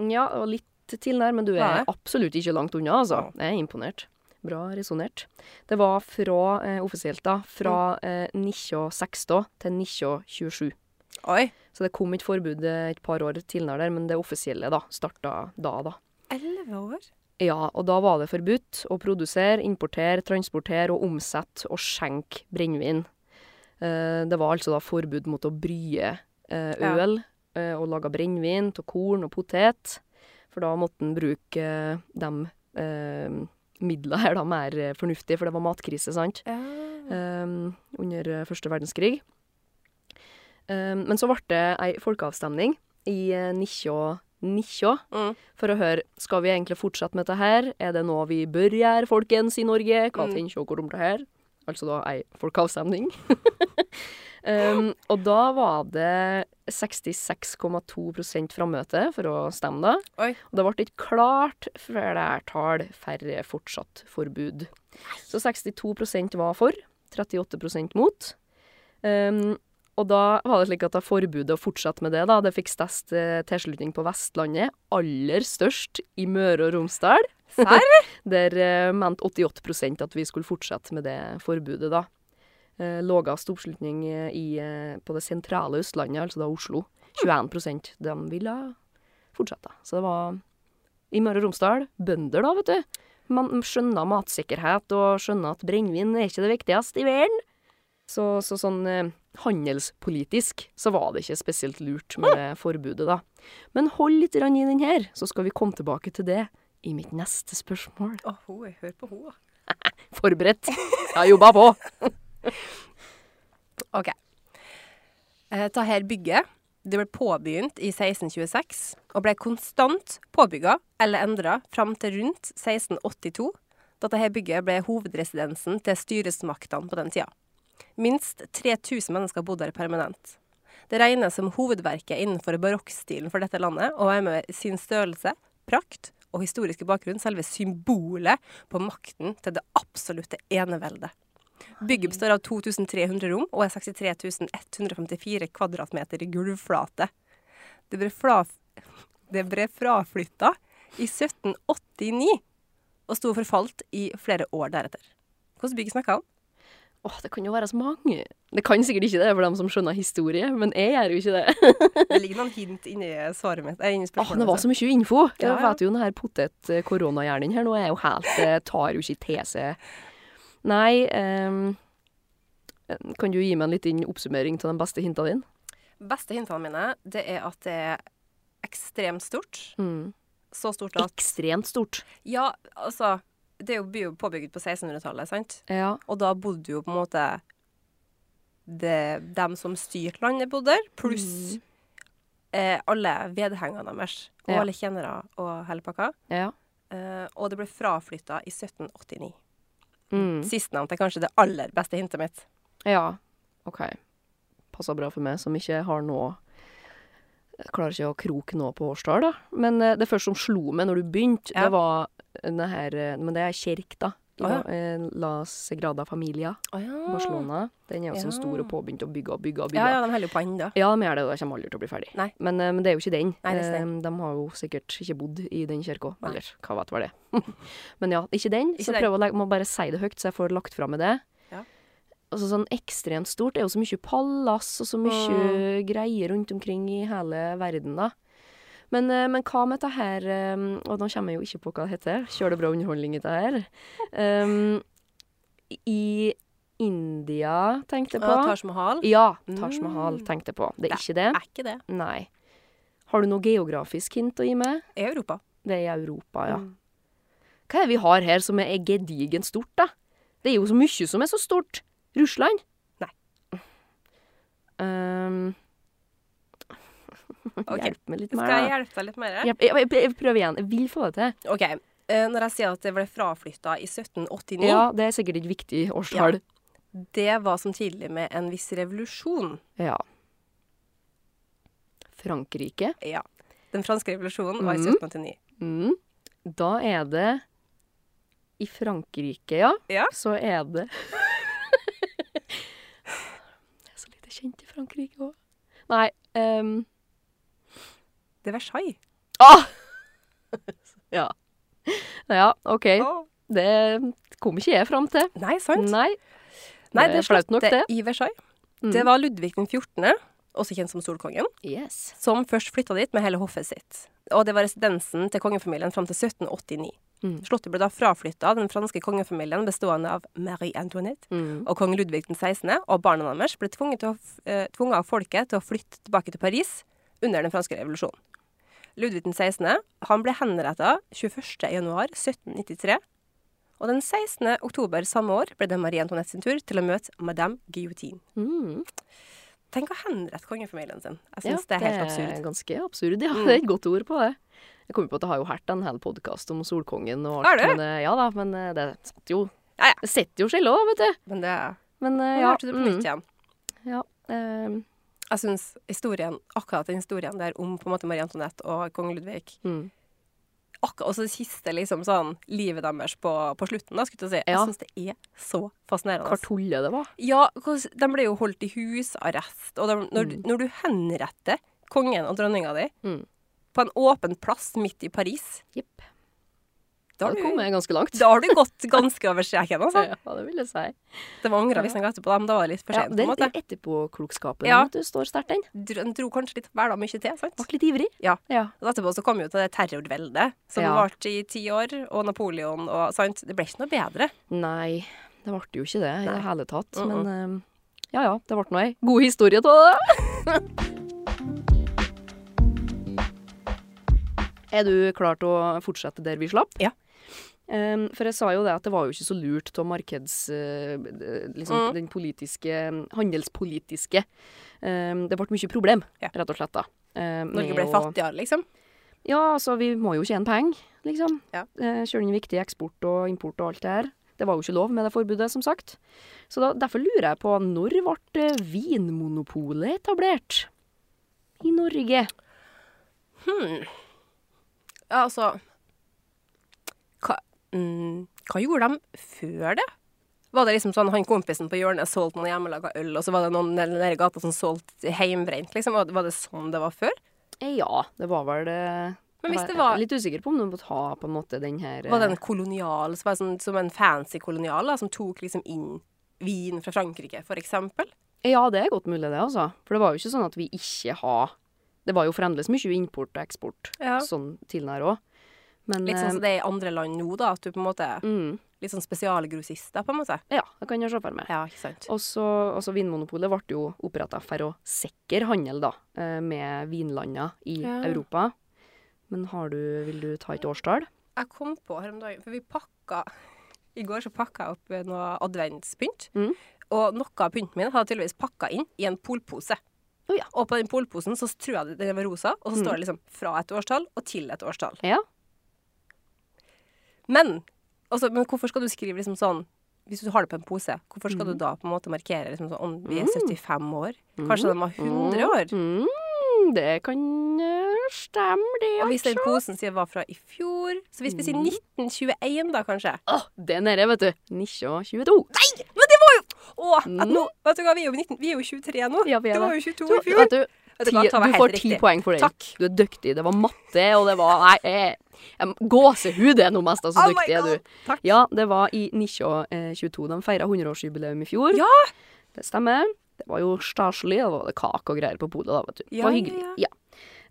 Speaker 3: Ja, og litt til der, men du
Speaker 2: Nei.
Speaker 3: er absolutt ikke langt unna, altså. Jeg er imponert. Bra resonnert. Det var fra, eh, offisielt da, fra eh, 1906 da, til 1927.
Speaker 2: Oi.
Speaker 3: Så det kom et forbud eh, et par år tidligere der, men det offisielle da, starta da, da.
Speaker 2: Elleve år?
Speaker 3: Ja, og da var det forbudt å produsere, importere, transportere og omsette og skjenke brennevin. Eh, Det var altså da forbud mot å brye eh,
Speaker 2: Ja.
Speaker 3: øl eh, og lage brennevin av korn og potet, for da måtte en bruke eh, de eh, midlene her da mer eh, fornuftig, for det var matkrise, sant? eh, under eh, første verdenskrig. Eh, men så ble det ei folkeavstemning i eh, 1919
Speaker 2: Mm.
Speaker 3: for å høre skal vi egentlig fortsette med dette her. Er det noe vi bør gjøre, folkens, i Norge? Hva
Speaker 2: Mm.
Speaker 3: tenker dere om det her? Altså da ei folkeavstemning. (laughs) um, og da var det 66,2 frammøte for å stemme, da.
Speaker 2: Oi.
Speaker 3: Og det ble et klart flertall færre fortsatt forbud. Så 62 var for, 38 mot. Um, og da var det slik at da forbudet å fortsette med det, da, det fikk størst eh, tilslutning på Vestlandet, aller størst i Møre og Romsdal.
Speaker 2: Serr?
Speaker 3: (laughs) Der eh, mente 88 at vi skulle fortsette med det forbudet, da. Eh, Lavest oppslutning eh, i, eh, på det sentrale Østlandet, altså da Oslo. 21 de ville fortsette. Så det var i Møre og Romsdal bønder, da, vet du. Man skjønner matsikkerhet og skjønner at brennevin er ikke det viktigste i verden. Så, så sånn eh, handelspolitisk så var det ikke spesielt lurt med det forbudet, da. Men hold litt grann i den her, så skal vi komme tilbake til det i mitt neste spørsmål.
Speaker 2: Å, ho, jeg hører på henne.
Speaker 3: Forberedt. Jeg har jobba på.
Speaker 2: OK. Eh, ta her bygget. Det ble påbegynt i 1626 og ble konstant påbygga eller endra fram til rundt 1682, Dette her bygget ble hovedresidensen til styresmaktene på den tida. Minst 3000 mennesker bodde her permanent. Det regnes som hovedverket innenfor barokkstilen for dette landet, og er med sin størrelse, prakt og historiske bakgrunn selve symbolet på makten til det absolutte eneveldet. Bygget består av 2300 rom og er 63 154 kvadratmeter i gulvflate. Det ble, fra, det ble fraflytta i 1789 og sto forfalt i flere år deretter. Hvilket bygg snakker jeg om?
Speaker 3: Åh, det kan jo være så mange. Det kan sikkert ikke det for dem som skjønner historie, men jeg gjør jo ikke det.
Speaker 2: Det ligger noen hint inni svaret mitt. eh, inni
Speaker 3: Åh,
Speaker 2: spørsmålet
Speaker 3: Ah, det var
Speaker 2: mitt.
Speaker 3: så mye info. Jeg
Speaker 2: Ja, ja.
Speaker 3: vet jo denne potet-koronahjernen her nå er jo helt eh, Tar jo ikke til seg Nei, ehm, kan du gi meg en liten oppsummering av de beste hintene dine?
Speaker 2: beste hintene mine det er at det er ekstremt stort. Så stort at
Speaker 3: Ekstremt stort.
Speaker 2: Ja, altså Det er jo by- påbygget på 1600-tallet, sant?
Speaker 3: Ja.
Speaker 2: Og da bodde jo på en måte det, dem som styrte landet, bodde der, pluss eh, alle vedhengene deres. Og
Speaker 3: Ja.
Speaker 2: alle tjenere og hele pakka.
Speaker 3: ja.
Speaker 2: Eh, og det ble fraflytta i 1789.
Speaker 3: Mm.
Speaker 2: Sistnevnte er kanskje det aller beste hintet mitt.
Speaker 3: Ja, ok. Passer bra for meg som ikke har noe jeg Klarer ikke å kroke nå på årstall, da. Men eh, det første som slo meg når du begynte,
Speaker 2: Ja.
Speaker 3: det var denne her eh, Men det er kirk, da.
Speaker 2: Å, ja.
Speaker 3: Eh, La Sagrada Familia,
Speaker 2: Å ja.
Speaker 3: Barcelona. Den er jo sånn
Speaker 2: Ja.
Speaker 3: stor og påbegynt å bygge og bygge og bygge.
Speaker 2: Ja, ja, de holder jo på ennå.
Speaker 3: Ja, de gjør det, og de kommer aldri til å bli ferdig.
Speaker 2: Nei.
Speaker 3: Men, eh, men det er jo ikke den.
Speaker 2: Nei, det er ikke den.
Speaker 3: Eh, de har jo sikkert ikke bodd i den kirka.
Speaker 2: Nei.
Speaker 3: Eller hva vet var det. (laughs) men ja, ikke den.
Speaker 2: Ikke
Speaker 3: så
Speaker 2: den.
Speaker 3: prøv å legge, må bare si det høyt, så jeg får lagt fra meg det.
Speaker 2: Ja.
Speaker 3: Altså sånn ekstremt stort. Det er jo så mye palass og så mye
Speaker 2: Mm.
Speaker 3: greier rundt omkring i hele verden, da. Men, eh, men hva med dette her eh, Og nå kommer jeg jo ikke på hva det heter. Kjør det bra underholdning, dette
Speaker 2: (laughs)
Speaker 3: her. Um, I India, tenkte jeg på.
Speaker 2: Og Taj Mahal.
Speaker 3: Ja, Taj
Speaker 2: Mm.
Speaker 3: Mahal tenkte jeg på. Det
Speaker 2: Ja.
Speaker 3: er ikke det?
Speaker 2: Er ikke det.
Speaker 3: Nei. Har du noe geografisk hint å gi meg?
Speaker 2: I Europa.
Speaker 3: Det er i Europa, ja.
Speaker 2: Mm.
Speaker 3: Hva er det vi har her som er gedigent stort, da? Det er jo så mye som er så stort. Russland?
Speaker 2: Nei.
Speaker 3: Ehm,
Speaker 2: Ok.
Speaker 3: Hjelp meg litt mer,
Speaker 2: Skal jeg
Speaker 3: da.
Speaker 2: hjelpe deg litt mer?
Speaker 3: Hjelp, jeg, jeg, jeg prøver igjen. Jeg vil få det til.
Speaker 2: OK. eh, når jeg sier at det ble fraflytta i 1789,
Speaker 3: Ja, det er sikkert et viktig årstall.
Speaker 2: det var som tidlig med en viss revolusjon.
Speaker 3: Ja. Frankrike?
Speaker 2: Ja. Den franske revolusjonen var i
Speaker 3: Mhm.
Speaker 2: 1789.
Speaker 3: Mm. Da er det I Frankrike, ja,
Speaker 2: Ja.
Speaker 3: så er det (laughs) Det er så lite kjent i Frankrike òg. Nei ehm,
Speaker 2: Det er Versailles.
Speaker 3: ah! (laughs) Ja. Ja, OK.
Speaker 2: Åh.
Speaker 3: Det kom ikke jeg fram til.
Speaker 2: Nei, sant?
Speaker 3: Nei.
Speaker 2: Nei,
Speaker 3: det
Speaker 2: det
Speaker 3: er flaut nok,
Speaker 2: slottet
Speaker 3: det.
Speaker 2: i Versailles.
Speaker 3: Mhm.
Speaker 2: Det var Ludvig den 14., også kjent som Solkongen,
Speaker 3: Yes.
Speaker 2: som først flytta dit med hele hoffet sitt. Og det var residensen til kongefamilien fram til 1789.
Speaker 3: Mhm.
Speaker 2: Slottet ble da fraflytta den franske kongefamilien bestående av Marie Antoinette
Speaker 3: Mm.
Speaker 2: og kong Ludvig den 16. og barna deres ble tvunget, til å, f- eh, tvunget av folket til å flytte tilbake til Paris under den franske revolusjonen. Ludvig den 16. han ble henrettet 21. januar 1793, og den 16. oktober samme år ble det Marie Antoinette sin tur til å møte Madame Guillotine.
Speaker 3: Mm.
Speaker 2: Tenk å henrette kongefamilien sin. Jeg
Speaker 3: Ja,
Speaker 2: synes det er helt absurd.
Speaker 3: Ganske absurd, ja.
Speaker 2: Mm.
Speaker 3: Det er et godt ord på det. Jeg kommer på at jeg har jo hørt en hel podkast om Solkongen og
Speaker 2: Har
Speaker 3: alt.
Speaker 2: du?
Speaker 3: Men, eh, ja da, men eh, det setter jo
Speaker 2: Ja, ja.
Speaker 3: Det setter jo skjell òg, vet du.
Speaker 2: Men det er...
Speaker 3: Men eh,
Speaker 2: Jeg
Speaker 3: ja.
Speaker 2: hørte det på nytt igjen.
Speaker 3: Mm, ja. ehm,
Speaker 2: Jeg synes historien, akkurat den historien der om på en måte Marie Antoinette og kong Ludvig,
Speaker 3: mm.
Speaker 2: akkurat også det siste liksom, sånn, livet deres på, på slutten. Da, skulle jeg, til å si.
Speaker 3: Ja.
Speaker 2: jeg syns det er så fascinerende.
Speaker 3: Hva tulle det var.
Speaker 2: Ja, hvordan- de ble jo holdt i husarrest. Og de, når, du- når du henretter kongen og dronninga di
Speaker 3: Mm.
Speaker 2: på en åpen plass midt i Paris,
Speaker 3: Jepp.
Speaker 2: da har
Speaker 3: Da kom
Speaker 2: du,
Speaker 3: jeg ganske langt.
Speaker 2: da har du gått ganske over streken. Altså.
Speaker 3: (laughs) Ja, det vil jeg si.
Speaker 2: Det var angra visstnok etterpå, da, men da var det litt for
Speaker 3: Ja,
Speaker 2: sent. på
Speaker 3: det
Speaker 2: en måte.
Speaker 3: er etterpåklokskapen
Speaker 2: Ja.
Speaker 3: at du står sterkt den.
Speaker 2: Dro- Den dro kanskje litt vel mye til. sant?
Speaker 3: Ble litt ivrig.
Speaker 2: Ja.
Speaker 3: ja.
Speaker 2: Og etterpå så kom jo til det terrorveldet som
Speaker 3: Ja.
Speaker 2: varte i ti år, og Napoleon og sant. Det ble ikke noe bedre.
Speaker 3: Nei, det ble jo ikke det i
Speaker 2: Nei.
Speaker 3: det hele tatt.
Speaker 2: Mm,
Speaker 3: Men ehm, ja ja, det ble nå ei god historie av det. (laughs) Er du klar til å fortsette der vi slapp?
Speaker 2: Ja.
Speaker 3: Ehm, for jeg sa jo det at det var jo ikke så lurt av markeds... eh, liksom
Speaker 2: Mm.
Speaker 3: den politiske Handelspolitiske. Ehm, det ble mye problem,
Speaker 2: Ja.
Speaker 3: rett og slett, da. eh,
Speaker 2: Norge
Speaker 3: med
Speaker 2: ble
Speaker 3: å-
Speaker 2: fattigere, liksom.
Speaker 3: Ja, altså, vi må jo tjene penger, liksom.
Speaker 2: Ja.
Speaker 3: Eh, Kjøre inn viktig eksport og import og alt det her. Det var jo ikke lov med det forbudet, som sagt. Så da, derfor lurer jeg på, når ble eh, vinmonopolet etablert? I Norge.
Speaker 2: Ja, altså hva, mm, hva gjorde de før det? Var det liksom sånn han kompisen på hjørnet solgte noen hjemmelaga øl, og så var det noen nede i gata som solgte heimbrent, liksom? Var det- Var det sånn det var før?
Speaker 3: Eh, ja, det var vel det
Speaker 2: Men hvis det
Speaker 3: Jeg
Speaker 2: var-
Speaker 3: er litt usikker på om du måtte ha på en måte den her eh,
Speaker 2: Var det en kolonial som var sånn, som en fancy kolonial, da, som tok liksom inn vin fra Frankrike, for eksempel?
Speaker 3: eh, Ja, det er godt mulig, det, altså. For det var jo ikke sånn at vi ikke har Det var jo fremdeles mye import og eksport
Speaker 2: Ja.
Speaker 3: sånn tidligere òg. Men
Speaker 2: Litt sånn som det er i andre land nå, da, at du på en måte
Speaker 3: eh, mm,
Speaker 2: Litt sånn spesialgrossister, på en måte.
Speaker 3: Ja, det kan jeg se for meg.
Speaker 2: Ja, ikke sant.
Speaker 3: Og så, altså Vinmonopolet ble jo oppretta for å sikre handel da, eh, med vinlandene i
Speaker 2: Ja.
Speaker 3: Europa. Men har du, vil du ta et årstall?
Speaker 2: Jeg kom på her om dagen, for vi pakka (laughs) I går så pakka jeg opp eh, noe adventspynt.
Speaker 3: Mm.
Speaker 2: Og noe av pynten min hadde tydeligvis pakka inn i en polpose.
Speaker 3: Å ja.
Speaker 2: Og på den polposen så tror jeg det- den var rosa, og så
Speaker 3: Mm.
Speaker 2: står det liksom fra et årstall og til et årstall.
Speaker 3: Ja.
Speaker 2: Men, altså, men hvorfor skal du skrive liksom sånn Hvis du har det på en pose, hvorfor
Speaker 3: Mm.
Speaker 2: skal du da på en måte markere liksom sånn om vi er 75 år? Kanskje de var 100 år?
Speaker 3: Mm, det kan eh, stemme, det.
Speaker 2: Og hvis den
Speaker 3: altså.
Speaker 2: posen sier var fra i fjor, så hvis vi
Speaker 3: Mm.
Speaker 2: sier 1921 da, kanskje?
Speaker 3: Åh, det er nede, vet du. 1922.
Speaker 2: Å, at nå, vet du hva, vi er jo, 19, vi er jo 23 nå.
Speaker 3: Mm. Ja, vi er
Speaker 2: det var
Speaker 3: det.
Speaker 2: jo 22 i
Speaker 3: Du,
Speaker 2: fjor.
Speaker 3: vet du,
Speaker 2: Vet
Speaker 3: ti,
Speaker 2: du hva, ta meg
Speaker 3: du
Speaker 2: helt
Speaker 3: får ti
Speaker 2: riktig.
Speaker 3: poeng for den.
Speaker 2: Takk.
Speaker 3: Du er dyktig. Det var matte, og det var Nei, jeg, jeg, gåsehud er nå mest, altså.
Speaker 2: Oh my
Speaker 3: dyktig er
Speaker 2: God.
Speaker 3: du.
Speaker 2: Takk.
Speaker 3: Ja, det var i 1922 de feira 100-årsjubileum i fjor.
Speaker 2: Ja!
Speaker 3: Det stemmer. Det var jo staselig. Det var kake og greier på polet, da, vet du. Det
Speaker 2: Ja,
Speaker 3: var
Speaker 2: ja,
Speaker 3: hyggelig. Ja.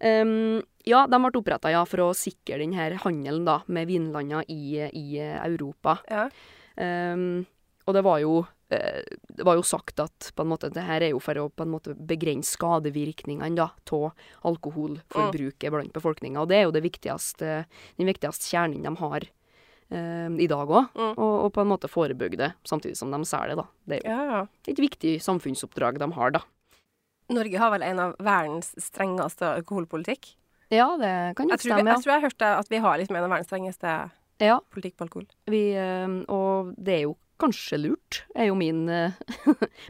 Speaker 3: Ehm, ja, de ble oppretta ja, for å sikre den her handelen da, med vinlandene i, i eh, Europa.
Speaker 2: Ja.
Speaker 3: Ehm, og det var jo eh, det var jo sagt at på en måte, det her er jo for å på en måte begrense skadevirkningene av alkoholforbruket blant befolkninga. Og det er jo det viktigste, den viktigste kjernen de har eh, i dag òg.
Speaker 2: Mm.
Speaker 3: Og, og på en måte forebygge det, samtidig som de selger det. da. Det er jo
Speaker 2: ja, ja.
Speaker 3: et viktig samfunnsoppdrag de har, da.
Speaker 2: Norge har vel en av verdens strengeste alkoholpolitikk.
Speaker 3: Ja, det kan
Speaker 2: Jeg
Speaker 3: godt
Speaker 2: tror, vi,
Speaker 3: stemme.
Speaker 2: jeg tror jeg hørte at vi har liksom en av verdens strengeste
Speaker 3: Ja. ja
Speaker 2: politikk på alkohol.
Speaker 3: vi, eh, og det er jo kanskje lurt, er jo min, (laughs) eh,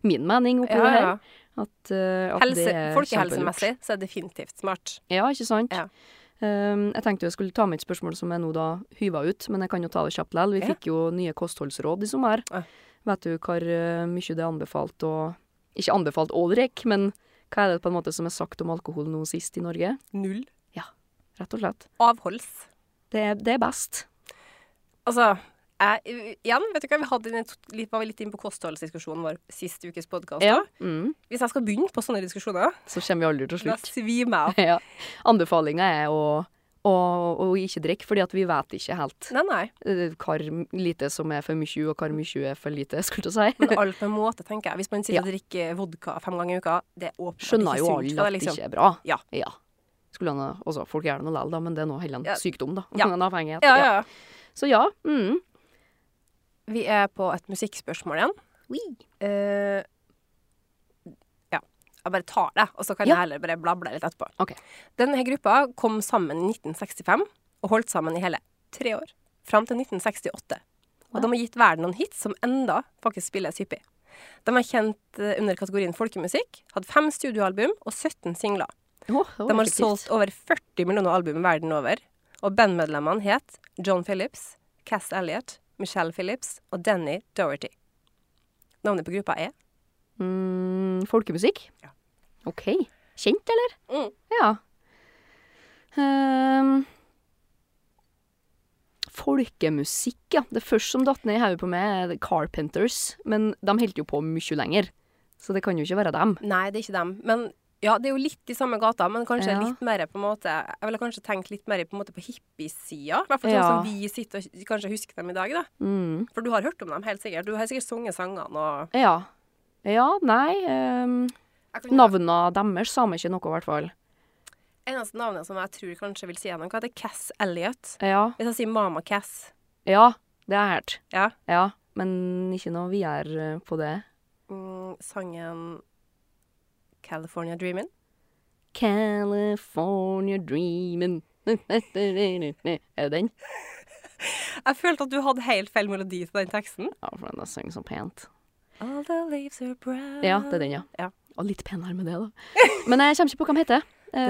Speaker 3: min mening oppi
Speaker 2: Ja,
Speaker 3: det her.
Speaker 2: ja.
Speaker 3: At, eh, at
Speaker 2: Helse,
Speaker 3: det er
Speaker 2: folkehelsemessig så er det definitivt smart.
Speaker 3: Ja, ikke sant?
Speaker 2: Ja.
Speaker 3: Ehm, jeg tenkte jeg skulle ta med et spørsmål som jeg nå da hyva ut, men jeg kan jo ta det kjapt likevel. Vi
Speaker 2: Ja.
Speaker 3: fikk jo nye kostholdsråd i sommer.
Speaker 2: Ja.
Speaker 3: Vet du hvor eh, mye det er anbefalt og Ikke anbefalt å drikke, men hva er det på en måte som er sagt om alkohol nå sist i Norge?
Speaker 2: Null.
Speaker 3: Rett og slett.
Speaker 2: Avholds.
Speaker 3: Det er, det er best.
Speaker 2: Altså, jeg, igjen, vet du hva, vi hadde en, litt- var litt inne på kostholdsdiskusjonen vår sist ukes podkast.
Speaker 3: Mm.
Speaker 2: Hvis jeg skal begynne på sånne diskusjoner,
Speaker 3: Så kommer vi aldri til
Speaker 2: da
Speaker 3: slutt.
Speaker 2: svimer jeg av.
Speaker 3: (laughs) ja. Anbefalinga er å, å, å ikke drikke, fordi at vi vet ikke helt
Speaker 2: Nei, nei.
Speaker 3: eh, hvor lite som er for mye, og hvor mye er for lite, skulle jeg si.
Speaker 2: Men alt med måte, tenker jeg. Hvis man sitter og drikker vodka fem ganger i uka, det er åpenbart
Speaker 3: skjønner jo
Speaker 2: ikke sunt. for deg,
Speaker 3: alle at det
Speaker 2: liksom.
Speaker 3: ikke er bra.
Speaker 2: Ja.
Speaker 3: Skulle han, ha- altså, folk gjør det nå likevel, da, men det er nå heller en
Speaker 2: Ja.
Speaker 3: sykdom, da. (laughs)
Speaker 2: Ja.
Speaker 3: En avhengighet.
Speaker 2: Ja, ja, ja.
Speaker 3: Så ja. Mm.
Speaker 2: Vi er på et musikkspørsmål igjen. Eh, ja. Jeg bare tar det, og så kan
Speaker 3: Ja.
Speaker 2: jeg heller bare blable litt etterpå.
Speaker 3: Ok.
Speaker 2: Denne her gruppa kom sammen i 1965 og holdt sammen i hele tre år. Fram til 1968. Og de har gitt verden noen hits som enda faktisk spilles hyppig. De er kjent eh, under kategorien folkemusikk, hadde fem studioalbum og 17 singler.
Speaker 3: Å, det var
Speaker 2: De har
Speaker 3: effektivt.
Speaker 2: solgt over 40 millioner album verden over, og bandmedlemmene het John Phillips, Cass Elliot, Michelle Phillips og Danny Doherty. Navnet på gruppa er
Speaker 3: mm, Folkemusikk?
Speaker 2: Ja.
Speaker 3: OK. Kjent, eller?
Speaker 2: Mm.
Speaker 3: Ja. Ehm, folkemusikk, ja. Det første som datt ned i hodet på meg, er The Carpenters. Men de holdt jo på mye lenger, så det kan jo ikke være dem.
Speaker 2: Nei, det er ikke dem. Men ja, det er jo litt i samme gata, men kanskje
Speaker 3: Ja.
Speaker 2: litt mer på en måte Jeg ville kanskje tenkt litt mer på, en måte på hippiesida. I hvert fall sånn
Speaker 3: Ja.
Speaker 2: som vi sitter og kanskje husker dem i dag, da.
Speaker 3: Mm.
Speaker 2: For du har hørt om dem, helt sikkert. Du har sikkert sunget sangene og
Speaker 3: Ja. Ja, nei um,
Speaker 2: Jeg kan-
Speaker 3: Navna deres sa meg ikke noe, i hvert fall.
Speaker 2: Eneste navnet som jeg tror kanskje vil si noe, heter Cass Elliot.
Speaker 3: Ja.
Speaker 2: Hvis jeg sier Mama Cass
Speaker 3: ja, det har jeg hørt.
Speaker 2: Ja.
Speaker 3: ja. Men ikke noe videre eh, på det.
Speaker 2: mm, sangen California Dreamin'.
Speaker 3: California dreamin' (laughs) Er det den?
Speaker 2: Jeg følte at du hadde helt feil melodi til den teksten.
Speaker 3: Ja, for den synger så pent.
Speaker 2: All the leaves are brown
Speaker 3: Ja, det er den, ja.
Speaker 2: Ja.
Speaker 3: Og litt penere med det, da. (laughs) Men jeg kommer ikke på hva de heter. Um,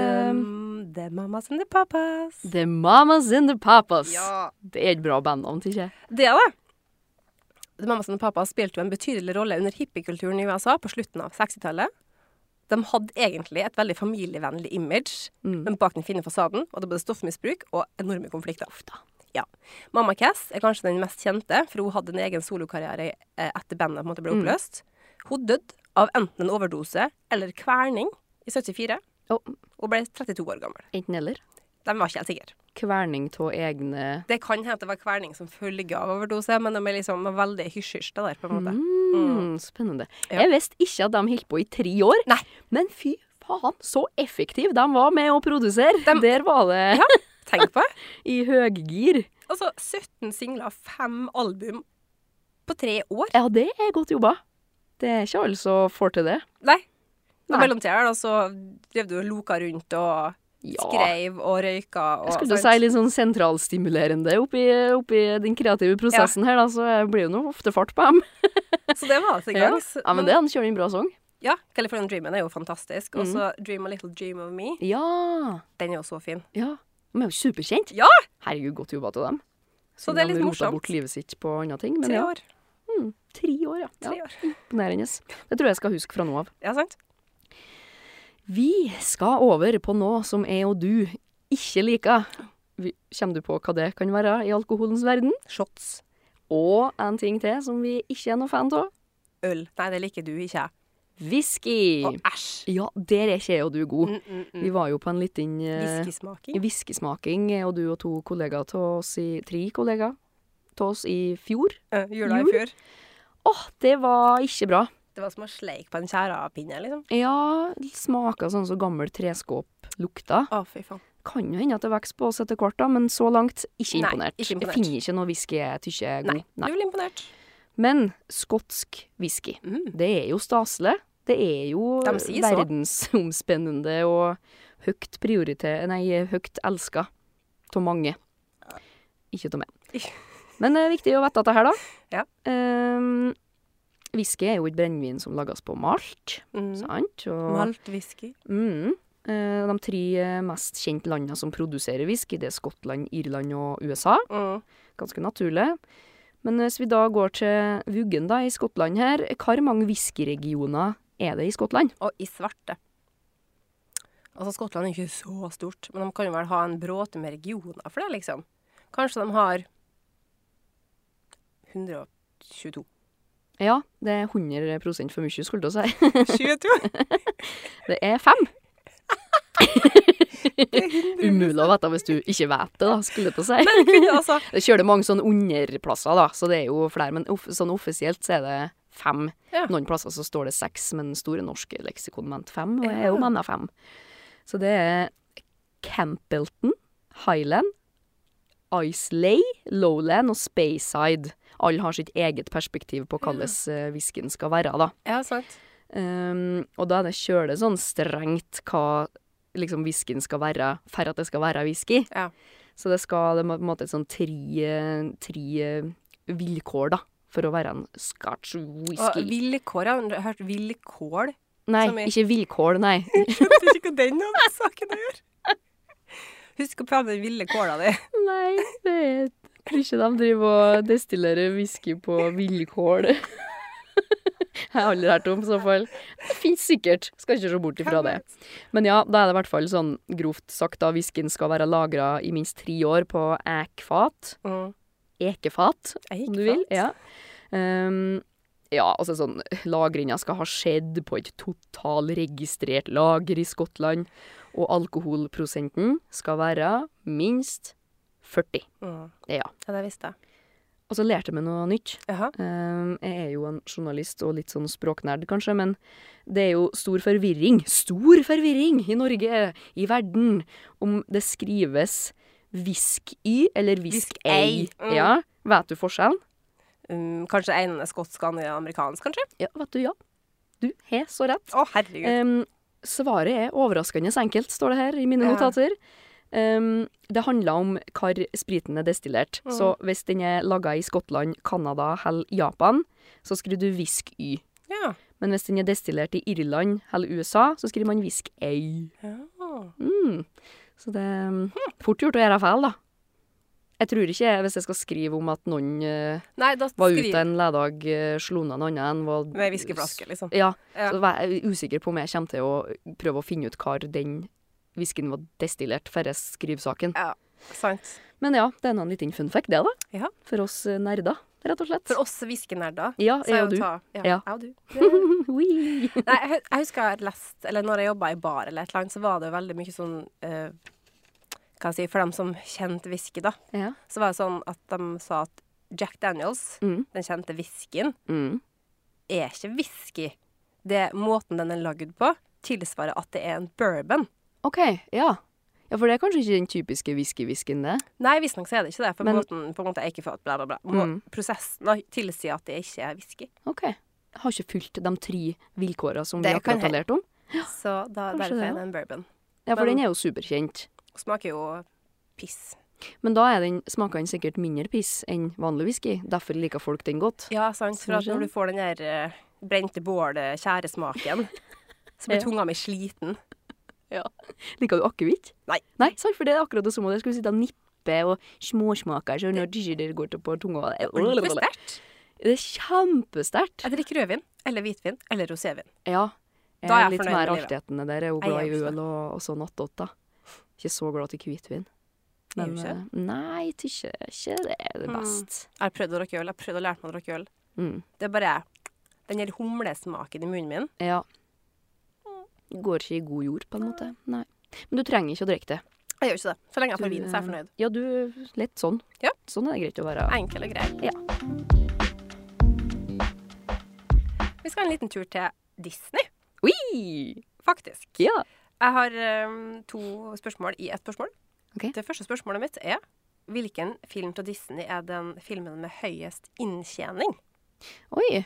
Speaker 2: Um, the mamas and the papas.
Speaker 3: the Mamas and the Papas. Det er et bra bandnavn, syns jeg.
Speaker 2: Det er det. The Mamas and the Papas spilte jo en betydelig rolle under hippiekulturen i USA på slutten av 60-tallet. De hadde egentlig et veldig familievennlig image, men bak den fine fasaden var det både stoffmisbruk og enorme konflikter. Ja. Mamma Cass er kanskje den mest kjente, for hun hadde en egen solokarriere eh, etter bandet på en måte
Speaker 3: Mm.
Speaker 2: ble oppløst. Hun døde av enten en overdose eller kverning i 74,
Speaker 3: Å,
Speaker 2: og ble 32 år gammel.
Speaker 3: enten eller.
Speaker 2: De var ikke helt sikre.
Speaker 3: Kverning av egne
Speaker 2: Det kan hende at det var kverning som følge av overdose, men de er liksom veldig hysj-hysj det der, på en måte.
Speaker 3: mm, Spennende.
Speaker 2: Ja.
Speaker 3: Jeg visste ikke at de holdt på i tre år.
Speaker 2: Nei.
Speaker 3: Men fy faen, så effektiv de var med å produsere. Der var det
Speaker 2: Tenk på det.
Speaker 3: (laughs) i høygir.
Speaker 2: Altså, 17 singler, 5 album på tre år.
Speaker 3: Ja, det er godt jobba. Det er ikke alle som får til det.
Speaker 2: Nei. Og
Speaker 3: Nei.
Speaker 2: mellomtida her, da, så altså, drev du og loka rundt og skreiv og røyka og
Speaker 3: Jeg skulle til å
Speaker 2: sant?
Speaker 3: si litt sånn sentralstimulerende oppi, oppi den kreative prosessen her, da, så blir jo nå ofte fart på dem.
Speaker 2: Så det var altså i
Speaker 3: Ja.
Speaker 2: gang.
Speaker 3: ja, men det er en kjøring bra sang.
Speaker 2: ja, California Dreamen er jo fantastisk. Og så Dream a Little Dream of Me.
Speaker 3: Ja.
Speaker 2: Den er jo så fin.
Speaker 3: Mhm. ja. De er jo superkjent.
Speaker 2: Ja!
Speaker 3: Herregud, godt jobba til dem.
Speaker 2: Så det er
Speaker 3: Siden
Speaker 2: litt
Speaker 3: de rota
Speaker 2: morsomt.
Speaker 3: bort livet sitt på andre ting. Men
Speaker 2: Tre
Speaker 3: ja.
Speaker 2: år.
Speaker 3: Mm, tre år, ja.
Speaker 2: Tre
Speaker 3: ja.
Speaker 2: år.
Speaker 3: Imponerende. Det tror jeg jeg skal huske fra nå av.
Speaker 2: Ja, sant?
Speaker 3: Vi skal over på noe som jeg og du ikke liker. Vi- Kommer du på hva det kan være i alkoholens verden?
Speaker 2: Shots.
Speaker 3: Og en ting til som vi ikke er noe fan av.
Speaker 2: Øl. Nei, det liker du ikke. jeg.
Speaker 3: Whisky.
Speaker 2: Og æsj.
Speaker 3: Ja, der er ikke jeg og du god.
Speaker 2: Mm, Ah. mm, mm.
Speaker 3: Vi var jo på en liten eh,
Speaker 2: Whiskysmaking.
Speaker 3: whiskysmaking, jeg og du og to kollegaer til oss i Tre kollegaer til oss i fjor.
Speaker 2: Eh, Jula i
Speaker 3: Jul?
Speaker 2: fjor.
Speaker 3: Åh, det var ikke bra.
Speaker 2: Det var som å sleike på en tjærepinne, liksom.
Speaker 3: Ja, det smaka sånn som gammel treskåp lukta.
Speaker 2: Å, fy faen.
Speaker 3: Kan jo hende at det vokser på oss etter hvert, da, men så langt ikke
Speaker 2: Nei,
Speaker 3: imponert.
Speaker 2: ikke imponert.
Speaker 3: Jeg finner ikke noe whisky jeg tykker er god.
Speaker 2: Nei. Du blir imponert.
Speaker 3: Men skotsk whisky,
Speaker 2: Mm.
Speaker 3: det er jo staselig. Det er jo
Speaker 2: De sier så.
Speaker 3: verdensomspennende og høyt priorite- Nei, høyt elska av mange. Ikke
Speaker 2: (laughs)
Speaker 3: av meg.
Speaker 2: Ikke.
Speaker 3: Men det er viktig å vite dette her, da.
Speaker 2: Ja.
Speaker 3: Ehm, whisky er jo et brennevin som lages på malt,
Speaker 2: Mm.
Speaker 3: sant? Og,
Speaker 2: Malt whisky.
Speaker 3: Mm. Eh, De tre eh, mest kjente landene som produserer whisky, det er Skottland, Irland og USA.
Speaker 2: Mm.
Speaker 3: Ganske naturlig. Men eh, hvis vi da går til Vuggen da, i Skottland her, hvor mange whiskyregioner er det i Skottland?
Speaker 2: Og i svarte. Altså, Skottland er ikke så stort, men de kan jo vel ha en bråte med regioner for det, liksom. Kanskje de har
Speaker 3: (laughs)
Speaker 2: 122.
Speaker 3: Ja, det er 100 for mye, skulle jeg si.
Speaker 2: 22?
Speaker 3: Det er fem.
Speaker 2: Det er 100.
Speaker 3: Umulig å vite hvis du ikke vet det, da, skulle jeg til å si.
Speaker 2: Men kunne altså
Speaker 3: Det kjører mange sånne underplasser, da, så det er jo flere. Men off sånn offisielt så er det fem.
Speaker 2: Ja.
Speaker 3: Noen plasser så står det seks, men Store norske leksikon mente fem, og jeg er jo mann av fem. Så det er Campbellton, Highland, Islay, Lowland og Speyside. Alle har sitt eget perspektiv på hvordan eh, whiskyen skal være, da.
Speaker 2: Ja, sant.
Speaker 3: Um, og da er det kjølig sånn strengt hva liksom whiskyen skal være, for at det skal være whisky.
Speaker 2: Ja.
Speaker 3: Så det skal det er på en måte et sånn tre, tre vilkår, da, for å være en scotch
Speaker 2: Og
Speaker 3: whisky.
Speaker 2: vilkår, ja. Du har hørt (laughs) vilkål?
Speaker 3: nei,
Speaker 2: som i-
Speaker 3: ikke vilkål, nei.
Speaker 2: Skjønte ikke hva den hadde med saken å gjøre. Husk å prøve den ville kåla di.
Speaker 3: (laughs) nei, det er tror ikke de driver og destillerer whisky på (laughs) vilkål. Jeg har aldri hørt om, i så fall. Det fins sikkert, skal ikke se bort ifra det. Men ja, da er det i hvert fall sånn grovt sagt da whiskyen skal være lagra i minst tre år på ekfat.
Speaker 2: (laughs) Mm.
Speaker 3: Ekefat,
Speaker 2: Jeg gikk
Speaker 3: om du vil. Ja. Um, ja, altså sånn Lagringa skal ha skjedd på et totalregistrert lager i Skottland. Og alkoholprosenten skal være minst 40.
Speaker 2: Mm.
Speaker 3: Ja.
Speaker 2: Ja, det visste jeg.
Speaker 3: Og så lærte jeg meg noe nytt.
Speaker 2: Jaha.
Speaker 3: Um, jeg er jo en journalist og litt sånn språknerd, kanskje, men det er jo stor forvirring, stor forvirring i Norge, i verden, om det skrives hvisk-y eller hvisk-ei.
Speaker 2: Hvisk-ei, mm.
Speaker 3: Ja, vet du forskjellen?
Speaker 2: Um, kanskje en er skotsk, andre er amerikansk, kanskje?
Speaker 3: Ja, vet du, ja. Du har så rett. Ehm,
Speaker 2: Å, herregud.
Speaker 3: Um, svaret er overraskende enkelt, står det her i mine
Speaker 2: Ja.
Speaker 3: notater. Ehm, det handler om hvor spriten er destillert.
Speaker 2: Mhm.
Speaker 3: Så hvis den er laga i Skottland, Canada eller Japan, så skriver du whisk y.
Speaker 2: Ja.
Speaker 3: Men hvis den er destillert i Irland eller USA, så skriver man whisk a.
Speaker 2: Ja.
Speaker 3: Mm. Så det er mm, fort gjort å gjøre feil, da. Jeg tror ikke jeg, hvis jeg skal skrive om at noen eh,
Speaker 2: Nei, da
Speaker 3: var
Speaker 2: skriv-
Speaker 3: ute en lørdag, uh, slo noen andre enn var
Speaker 2: Med whiskeflaske, liksom.
Speaker 3: Ja.
Speaker 2: Ja.
Speaker 3: Så var jeg usikker på om jeg kommer til å prøve å finne ut hvor den whiskyen var destillert, før jeg skriver saken.
Speaker 2: Sant.
Speaker 3: Men ja, det er nå en liten fun fact, det, da.
Speaker 2: Ja.
Speaker 3: For oss eh, nerder, rett og slett.
Speaker 2: For oss viskenerder
Speaker 3: ja,
Speaker 2: så
Speaker 3: jeg
Speaker 2: er
Speaker 3: og
Speaker 2: jo
Speaker 3: du. (laughs)
Speaker 2: ta Ja.
Speaker 3: Ja.
Speaker 2: Jeg og du.
Speaker 3: (laughs)
Speaker 2: Nei,
Speaker 3: Wee.
Speaker 2: jeg, hu- jeg husker jeg hadde lest Eller når jeg jobba i bar eller et eller annet, så var det jo veldig mye sånn eh, Hva skal jeg si For dem som kjente whisky, da,
Speaker 3: ja.
Speaker 2: så var det sånn at de sa at Jack Daniels,
Speaker 3: Mm.
Speaker 2: den kjente whiskyen,
Speaker 3: Mm.
Speaker 2: er ikke whisky. Det er måten den er lagd på, tilsvarer at det er en bourbon.
Speaker 3: OK, ja. Ja, for det er kanskje ikke den typiske whisky-whiskyen, det.
Speaker 2: Nei, visstnok så er det ikke det, for
Speaker 3: Men-
Speaker 2: måten på en måte er ikke fått bla, bla, bla. Må,
Speaker 3: Mm.
Speaker 2: Prosessen da, tilsier at det ikke er whisky.
Speaker 3: OK. Jeg har ikke fulgt de tre vilkårene som
Speaker 2: Det
Speaker 3: vi
Speaker 2: kan
Speaker 3: akkurat har
Speaker 2: hende.
Speaker 3: lært om.
Speaker 2: Så da, derfor
Speaker 3: Kanskje det,
Speaker 2: er
Speaker 3: da.
Speaker 2: det en bourbon.
Speaker 3: Ja, for
Speaker 2: Men-
Speaker 3: den er jo superkjent.
Speaker 2: Smaker jo piss.
Speaker 3: Men da er den, smaker den sikkert mindre piss enn vanlig whisky. Derfor liker folk den godt.
Speaker 2: Ja, sant. For at
Speaker 3: Kanskje.
Speaker 2: når du får den der eh, brente eh, bål-tjæresmaken,
Speaker 3: (laughs)
Speaker 2: så blir
Speaker 3: Ja.
Speaker 2: tunga mi
Speaker 3: (laughs)
Speaker 2: sliten.
Speaker 3: Liker du akevitt?
Speaker 2: Nei.
Speaker 3: Nei, sant, for det er akkurat det samme. Jeg skulle sitte og nippe og småsmake. Så når det går til på tunga
Speaker 2: Ordentlig sterkt.
Speaker 3: Det er kjempesterkt.
Speaker 2: Jeg drikker rødvin eller hvitvin eller rosévin.
Speaker 3: Ja. Jeg
Speaker 2: Da er
Speaker 3: er
Speaker 2: jeg
Speaker 3: litt
Speaker 2: fornøyd
Speaker 3: mer
Speaker 2: med livet.
Speaker 3: artighetene der. Jeg er jo
Speaker 2: Jeg er
Speaker 3: glad i
Speaker 2: også det.
Speaker 3: øl og, og sånn attåt, da. Ikke så glad til hvitvin.
Speaker 2: Er du
Speaker 3: Men
Speaker 2: ikke?
Speaker 3: eh, nei, tykker ikke det er det
Speaker 2: Mm.
Speaker 3: best.
Speaker 2: Jeg har prøvd å drikke øl. Jeg har prøvd å lære meg å drikke øl.
Speaker 3: Mm.
Speaker 2: Det er bare den der humlesmaken i munnen min.
Speaker 3: Ja. Går ikke i god jord, på en måte. Nei. Men du trenger ikke å drikke det.
Speaker 2: Jeg gjør ikke det. Så lenge jeg får
Speaker 3: Du,
Speaker 2: vin, så er jeg
Speaker 3: eh,
Speaker 2: fornøyd.
Speaker 3: Ja, du litt sånn.
Speaker 2: Ja.
Speaker 3: Sånn er det greit å være.
Speaker 2: Enkel og grei.
Speaker 3: Ja.
Speaker 2: Vi skal ha en liten tur til Disney,
Speaker 3: Ui!
Speaker 2: faktisk.
Speaker 3: Ja.
Speaker 2: Jeg har eh, to spørsmål i ett spørsmål.
Speaker 3: Ok.
Speaker 2: Det første spørsmålet mitt er Hvilken film fra Disney er den filmen med høyest inntjening?
Speaker 3: Oi.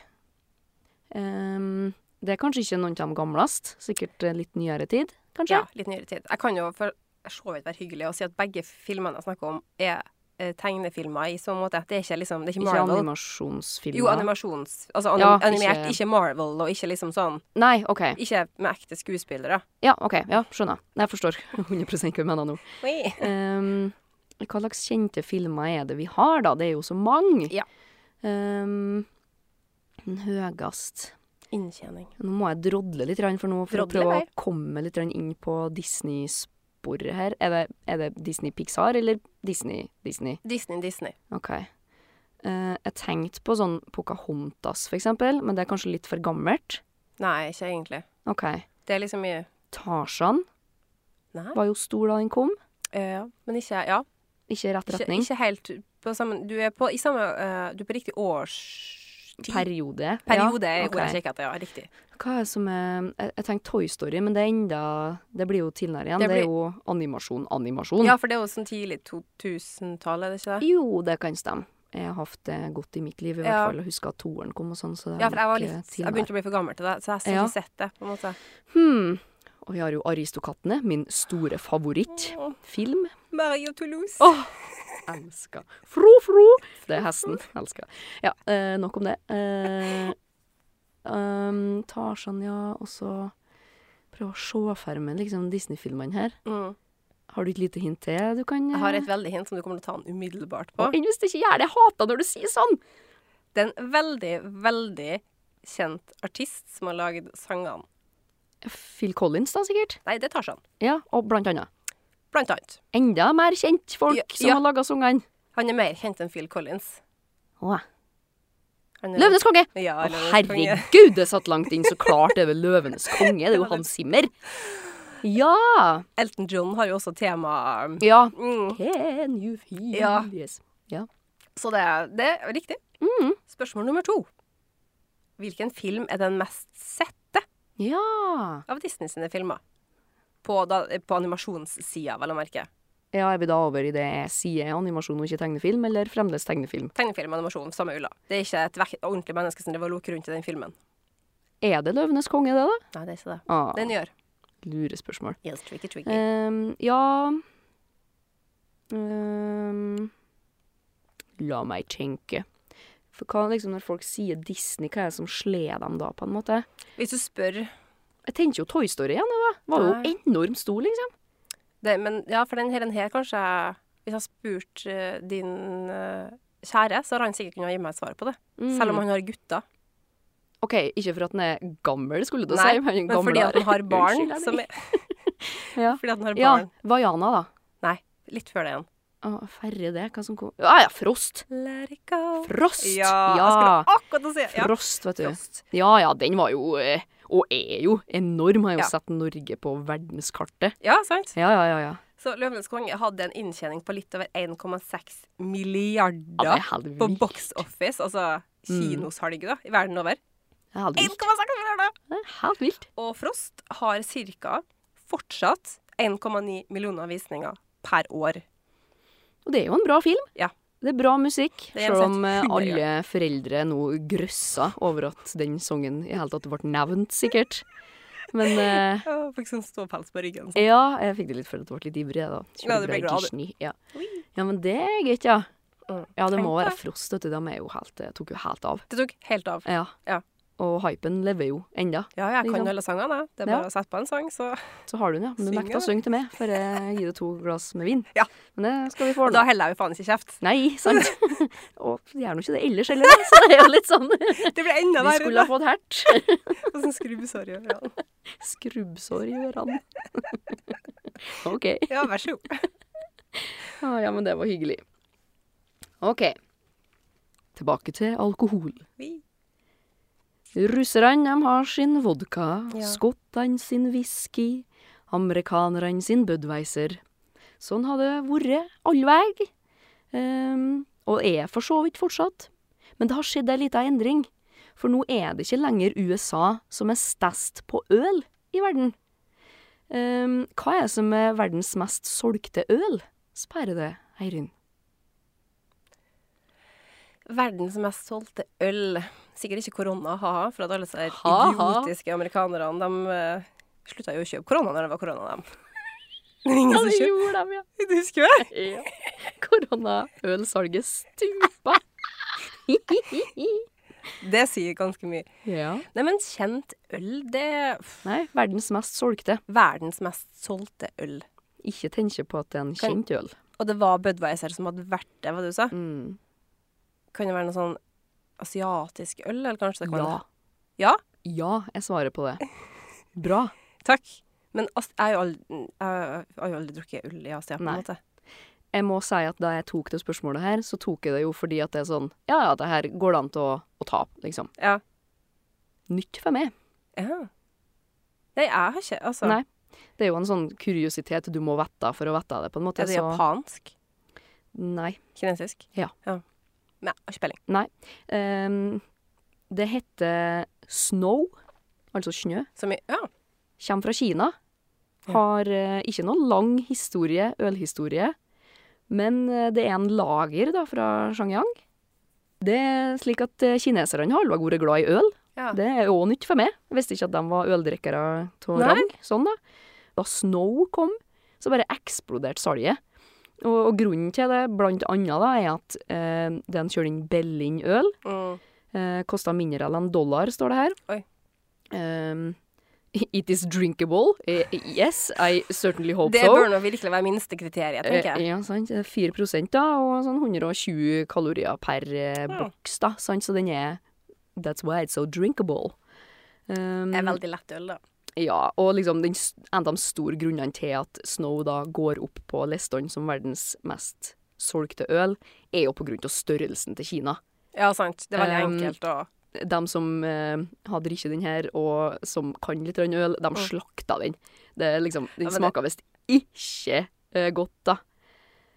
Speaker 3: Ehm, det er kanskje ikke noen av de gamlest. Sikkert eh, litt nyere tid, kanskje.
Speaker 2: Ja, litt nyere tid. Jeg kan jo for så vidt være hyggelig og si at begge filmene jeg snakker om, er eh, tegnefilmer i så måte. Det er ikke liksom Det er ikke
Speaker 3: Ikke
Speaker 2: Marvel.
Speaker 3: animasjonsfilmer.
Speaker 2: jo, animasjons... Altså anim
Speaker 3: Ja,
Speaker 2: animert,
Speaker 3: ikke-
Speaker 2: ikke. Marvel, og ikke liksom sånn
Speaker 3: Nei, OK.
Speaker 2: Ikke med ekte skuespillere.
Speaker 3: Ja, OK. Ja, skjønner. Jeg forstår (laughs) 100 hva du mener nå.
Speaker 2: Oi.
Speaker 3: Ehm, hva slags kjente filmer er det vi har, da? Det er jo så mange.
Speaker 2: Ja.
Speaker 3: Ehm, den høyest
Speaker 2: Inntjening.
Speaker 3: Nå må jeg drodle litt, grann, for nå for å
Speaker 2: Drodle,
Speaker 3: prøve
Speaker 2: nei.
Speaker 3: å komme litt grann inn på Disney-sporet her. Er det, er det Disney Pixar eller Disney Disney?
Speaker 2: Disney, Disney.
Speaker 3: OK. Eh, jeg tenkte på sånn Pocahontas, for eksempel, men det er kanskje litt for gammelt.
Speaker 2: Nei, ikke egentlig.
Speaker 3: OK.
Speaker 2: Det er liksom mye
Speaker 3: Tarzan
Speaker 2: Nei.
Speaker 3: var jo stor da den kom.
Speaker 2: Eh, men ikke Ja.
Speaker 3: Ikke i rett
Speaker 2: Ikke,
Speaker 3: retning.
Speaker 2: ikke helt på samme Du er på, i samme, eh, du er på riktig årstid.
Speaker 3: Periode.
Speaker 2: Periode er ordet
Speaker 3: Ja, ok.
Speaker 2: jeg kikker etter, ja. Riktig.
Speaker 3: Hva er det som er Jeg, jeg tenkte Toy Story, men det er enda Det blir jo tidligere igjen.
Speaker 2: Det
Speaker 3: Det, er jo animasjon, animasjon.
Speaker 2: Ja, for det er jo sånn tidlig 2000-tallet, er det ikke det?
Speaker 3: Jo, det kan stemme. Jeg har hatt det godt i mitt liv, i hvert
Speaker 2: Ja.
Speaker 3: fall. Jeg husker at toeren kom og sånn, så det er
Speaker 2: Ja, for jeg, var
Speaker 3: nok, eh,
Speaker 2: litt, jeg
Speaker 3: tidligere.
Speaker 2: begynte å bli for gammel til det, så jeg har
Speaker 3: Ja.
Speaker 2: ikke sett det. på en måte.
Speaker 3: Hmm. Og vi har jo Aristokattene, min store favorittfilm.
Speaker 2: Mario Toulouse.
Speaker 3: Åh, Elsker. Fro, fro! Det er hesten. Elsker. Ja, eh, nok om det. Eh, um, Tarzan, ja, og så Prøve å se for meg liksom, Disney-filmene her.
Speaker 2: Mm.
Speaker 3: Har du et lite hint til du kan
Speaker 2: Jeg har et veldig hint som du kommer til å ta den umiddelbart på.
Speaker 3: Enn hvis det ikke gjør det. Jeg hater når du sier sånn!
Speaker 2: Det er en veldig, veldig kjent artist som har lagd sangene.
Speaker 3: Phil Collins, da, sikkert.
Speaker 2: Nei, det tar seg an.
Speaker 3: Ja, og blant annet.
Speaker 2: Blant annet.
Speaker 3: Enda mer kjent folk
Speaker 2: Ja,
Speaker 3: som
Speaker 2: ja.
Speaker 3: har laga sangene.
Speaker 2: Han er mer kjent enn Phil Collins.
Speaker 3: Åh.
Speaker 2: Han er-
Speaker 3: Løvenes konge!
Speaker 2: Ja,
Speaker 3: Å,
Speaker 2: Løvenes konge.
Speaker 3: herregud, det satt langt inn, så klart det er vel Løvenes konge. Det er jo Hans Zimmer. Ja!
Speaker 2: Elton John har jo også tema
Speaker 3: Ja.
Speaker 2: mm.
Speaker 3: Can you feel
Speaker 2: Ja.
Speaker 3: yes.
Speaker 2: Så det, er- det er riktig.
Speaker 3: Mm.
Speaker 2: Spørsmål nummer to. Hvilken film er den mest sette
Speaker 3: Ja.
Speaker 2: av Disney sine filmer? På, da, på animasjonssida, vel å merke.
Speaker 3: Ja, er vi da over i det jeg sier animasjon og ikke tegnefilm, eller fremdeles tegnefilm?
Speaker 2: Tegnefilm, animasjon, samme ulla. Det er ikke et vek- ordentlig menneske som driver og loker rundt i den filmen.
Speaker 3: Er det Løvenes konge, det, da?
Speaker 2: Nei, det er ikke det.
Speaker 3: Ah,
Speaker 2: Den gjør.
Speaker 3: lurespørsmål.
Speaker 2: Yes, tricky, tricky.
Speaker 3: Um, Ehm, ja Ehm, la meg tenke. For hva, liksom, når folk sier Disney, hva er det som slår dem da, på en måte?
Speaker 2: Eh, Hvis du spør
Speaker 3: Jeg tenker jo Toy Story igjen, jeg, da. Var
Speaker 2: Nei.
Speaker 3: jo enormt stor, liksom.
Speaker 2: det, men, Ja, for den her, den her kanskje jeg- Hvis jeg har spurt eh, din eh, kjære, så har han sikkert kunnet gi meg et svar på det.
Speaker 3: Mm.
Speaker 2: Selv om han har gutter.
Speaker 3: OK, ikke for at den er gammel, skulle du
Speaker 2: Nei,
Speaker 3: si. Men,
Speaker 2: Men fordi at han har barn
Speaker 3: (laughs) Unnskyld, jeg
Speaker 2: som
Speaker 3: blir-
Speaker 2: er
Speaker 3: (laughs) Ja.
Speaker 2: Fordi at han har
Speaker 3: Ja,
Speaker 2: barn.
Speaker 3: Vaiana, da.
Speaker 2: Litt før det igjen.
Speaker 3: Å, Færre det, hva som kom Ja ja, Frost!
Speaker 2: Let it go.
Speaker 3: Frost!
Speaker 2: Ja, jeg skulle akkurat å si det. Ja.
Speaker 3: Frost, vet du.
Speaker 2: Frost.
Speaker 3: Ja ja, den var jo eh, Og er jo enorm. Har jo
Speaker 2: Ja.
Speaker 3: sett Norge på verdenskartet.
Speaker 2: Ja, sant?
Speaker 3: Ja, ja, ja. ja.
Speaker 2: Så Løvenes konge hadde en inntjening på litt over 1,6
Speaker 3: ja det
Speaker 2: milliarder
Speaker 3: er helt
Speaker 2: på
Speaker 3: vilt.
Speaker 2: box office, altså kinosalget da, i verden over.
Speaker 3: Det er helt vilt.
Speaker 2: 1,6 milliarder!
Speaker 3: Det er helt vilt.
Speaker 2: Og Frost har ca. fortsatt 1,9 millioner visninger per år.
Speaker 3: Og det er jo en bra film.
Speaker 2: Ja.
Speaker 3: Det er bra musikk,
Speaker 2: (laughs) Det er
Speaker 3: selv
Speaker 2: en
Speaker 3: om eh,
Speaker 2: sett hundre
Speaker 3: alle foreldre nå grøsser over at den sangen i hele tatt ble nevnt, sikkert. Men eh,
Speaker 2: Jeg fikk sånn ståpels på ryggen. sånn.
Speaker 3: ja, jeg fikk det litt for at det ble litt ivrig, jeg, da.
Speaker 2: Ja, du ble glad, du.
Speaker 3: Disney, ja.
Speaker 2: Oi.
Speaker 3: ja, men det er greit, ja.
Speaker 2: Mm.
Speaker 3: Ja, det
Speaker 2: Tenk
Speaker 3: må
Speaker 2: det.
Speaker 3: være Frost, vet du. De er jo helt, eh, tok jo helt av.
Speaker 2: Det tok helt av.
Speaker 3: Ja.
Speaker 2: Ja.
Speaker 3: Og hypen lever jo enda.
Speaker 2: Ja, jeg
Speaker 3: Ikke
Speaker 2: kan
Speaker 3: sant?
Speaker 2: alle sangene. jeg. Det er
Speaker 3: Liksom. Ja.
Speaker 2: bare å sette på en sang, så
Speaker 3: Så har du den, ja. Men du
Speaker 2: Synger,
Speaker 3: nekta
Speaker 2: da.
Speaker 3: å synge til meg før jeg gir deg to glass med vin.
Speaker 2: Ja.
Speaker 3: Men det skal vi få
Speaker 2: Og da
Speaker 3: ordna.
Speaker 2: heller jeg jo faen ikke kjeft.
Speaker 3: Nei, (laughs) sant. Og gjør nå ikke det ellers heller, så det er jo litt sånn
Speaker 2: Det ble enda
Speaker 3: Vi
Speaker 2: verre.
Speaker 3: skulle ha
Speaker 2: da.
Speaker 3: fått hert.
Speaker 2: Og sånn skrubbsår i ørene.
Speaker 3: Skrubbsår i (laughs) ørene. OK.
Speaker 2: Ja, vær så god.
Speaker 3: Å, ja, men det var hyggelig. OK. Tilbake til alkohol.
Speaker 2: Vi-
Speaker 3: Russerne de har sin vodka,
Speaker 2: Ja.
Speaker 3: skottene sin whisky, amerikanerne sin Budweiser. Sånn har det vært all vei, ehm, og er for så vidt fortsatt. Men det har skjedd ei lita endring, for nå er det ikke lenger USA som er størst på øl i verden. Ehm, hva er det som er verdens mest solgte øl? Sperrer det, Eirin.
Speaker 2: Verdens mest solgte øl. Sikkert ikke korona, ha-ha, for at alle disse her
Speaker 3: Ha, ha.
Speaker 2: idiotiske amerikanerne, de eh, slutta jo å kjøpe korona når det var korona, dem. (laughs) Det er ingen som kjøper.
Speaker 3: gjorde de, ja.
Speaker 2: Du husker det?
Speaker 3: (laughs) Ja. Koronaølsalget stupa.
Speaker 2: Det sier ganske mye.
Speaker 3: ja.
Speaker 2: Nei, men kjent øl, det er
Speaker 3: Nei, verdens mest solgte.
Speaker 2: verdens mest solgte øl.
Speaker 3: Ikke tenke på at det er en
Speaker 2: Kan-
Speaker 3: kjent øl.
Speaker 2: Og det var Budweiser som hadde vært det, hva du sa?
Speaker 3: Mm.
Speaker 2: Kan det være noe sånn asiatisk øl, eller kanskje det kan
Speaker 3: Ja.
Speaker 2: Ja?
Speaker 3: Ja, jeg svarer på
Speaker 2: (laughs)
Speaker 3: det. Bra.
Speaker 2: Takk. Men as- jeg har jo aldri, jeg har jo aldri drukket øl i Asia, på en
Speaker 3: Nei.
Speaker 2: måte.
Speaker 3: Jeg må si at da jeg tok det spørsmålet her, så tok jeg det jo fordi at det er sånn Ja, ja, det her går det an til å, å ta, liksom.
Speaker 2: Ja.
Speaker 3: Nytt for meg.
Speaker 2: ja. Nei, jeg har ikke Altså,
Speaker 3: Nei. Det er jo en sånn kuriositet du må vite for å vite det, på en måte.
Speaker 2: er det
Speaker 3: så-
Speaker 2: japansk?
Speaker 3: Nei.
Speaker 2: Kinesisk?
Speaker 3: Ja.
Speaker 2: Men jeg har ikke peiling.
Speaker 3: Ehm, det heter snow, altså snø.
Speaker 2: Så mye Ja.
Speaker 3: kommer fra Kina.
Speaker 2: Ja.
Speaker 3: Har eh, ikke noen lang historie, ølhistorie, men eh, det er en lager da, fra Shangyang. Det er slik at eh, kineserne har aldri vært glad i øl.
Speaker 2: ja.
Speaker 3: Det er òg nytt for meg. Jeg visste ikke at de var øldrikkere av
Speaker 2: Nei.
Speaker 3: rang. Sånn, da. Da Snow kom, så bare eksploderte salget. Og, og grunnen til det, blant annet, da, er at eh, den kjører inn Bellin-øl.
Speaker 2: Mm.
Speaker 3: Eh, Kosta mindre enn en dollar, står det her.
Speaker 2: Oi.
Speaker 3: Ehm, (laughs) it is drinkable. Eh, yes, I certainly hope
Speaker 2: Det
Speaker 3: so.
Speaker 2: bør nå virkelig være minstekriteriet, tenker
Speaker 3: Eh,
Speaker 2: jeg.
Speaker 3: ja, sant. Det er 4 da, og sånn 120 kalorier per eh,
Speaker 2: Ja.
Speaker 3: boks, da. Sant? Så den er That's why it's so drinkable. Ehm,
Speaker 2: Det er veldig lett øl, da.
Speaker 3: ja, og liksom den, s- en av de store grunnene til at Snow da går opp på listene som verdens mest solgte øl, er jo på grunn av størrelsen til Kina.
Speaker 2: Ja, sant. Det er veldig
Speaker 3: Um,
Speaker 2: enkelt å
Speaker 3: de som eh, har drikket den her, og som kan litt grann øl, de slakta den. Det er liksom, den
Speaker 2: Mm. Ja, men det-
Speaker 3: smaker visst ikke eh, godt, da.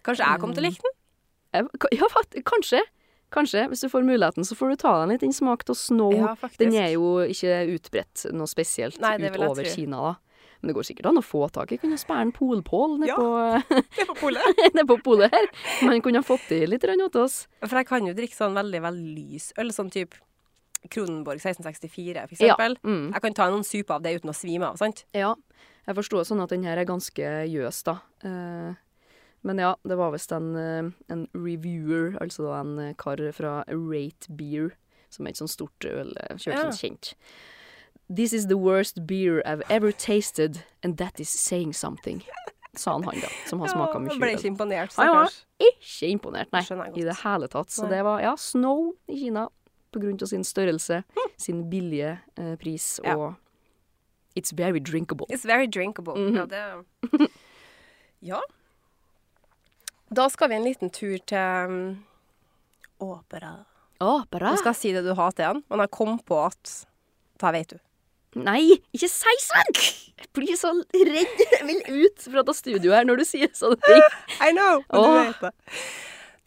Speaker 2: Kanskje jeg kom til å like den?
Speaker 3: Jeg, ka- ja, fakt- kanskje. Kanskje. Hvis du får muligheten, så får du ta den litt. Den smakte av snow.
Speaker 2: Ja, faktisk.
Speaker 3: den er jo ikke utbredt noe spesielt
Speaker 2: Nei, det vil jeg
Speaker 3: utover
Speaker 2: tro.
Speaker 3: Kina, da. Men det går sikkert an å få tak i. Kunne spære en polpål nede
Speaker 2: Ja.
Speaker 3: på,
Speaker 2: (laughs)
Speaker 3: (laughs)
Speaker 2: Det er på polet.
Speaker 3: ned på polet her. Man kunne ha fått i litt grann til oss.
Speaker 2: For jeg kan jo drikke sånn veldig, veldig lys øl, sånn type Kronenborg 1664, for
Speaker 3: Ja,
Speaker 2: eksempel.
Speaker 3: mm.
Speaker 2: Jeg kan ta noen super av det uten å svime av, sant?
Speaker 3: Ja, jeg forstår sånn at den her er ganske jøs, da. Eh, Men ja, det var visst en, eh, en reviewer, altså da en eh, kar fra Rate Beer, som er et sånt stort eh, ølkjøp
Speaker 2: Ja.
Speaker 3: som er kjent. This is the worst beer I've ever tasted, and that is saying something, sa han han da, som har smaka mye
Speaker 2: Jeg ble
Speaker 3: øl.
Speaker 2: ikke imponert,
Speaker 3: Nei, ja.
Speaker 2: stakkars.
Speaker 3: Ikke imponert, nei,
Speaker 2: Skjønner jeg godt.
Speaker 3: i det hele tatt. Så
Speaker 2: Nei.
Speaker 3: det var, ja, snow i Kina, på grunn av sin størrelse, sin billige eh, pris,
Speaker 2: Hm. Ja.
Speaker 3: og it's very drinkable.
Speaker 2: It's very drinkable.
Speaker 3: Mhm.
Speaker 2: Ja, det Ja. Da skal vi en liten tur til um, opera.
Speaker 3: Å, bra.
Speaker 2: Du skal si det du har til han, men jeg kom på at Da vet du.
Speaker 3: Nei, ikke si sånn! Jeg blir så redd. Jeg vil ut fra det studioet her når du sier sånne ting.
Speaker 2: I know! Men
Speaker 3: Åh.
Speaker 2: du vet det.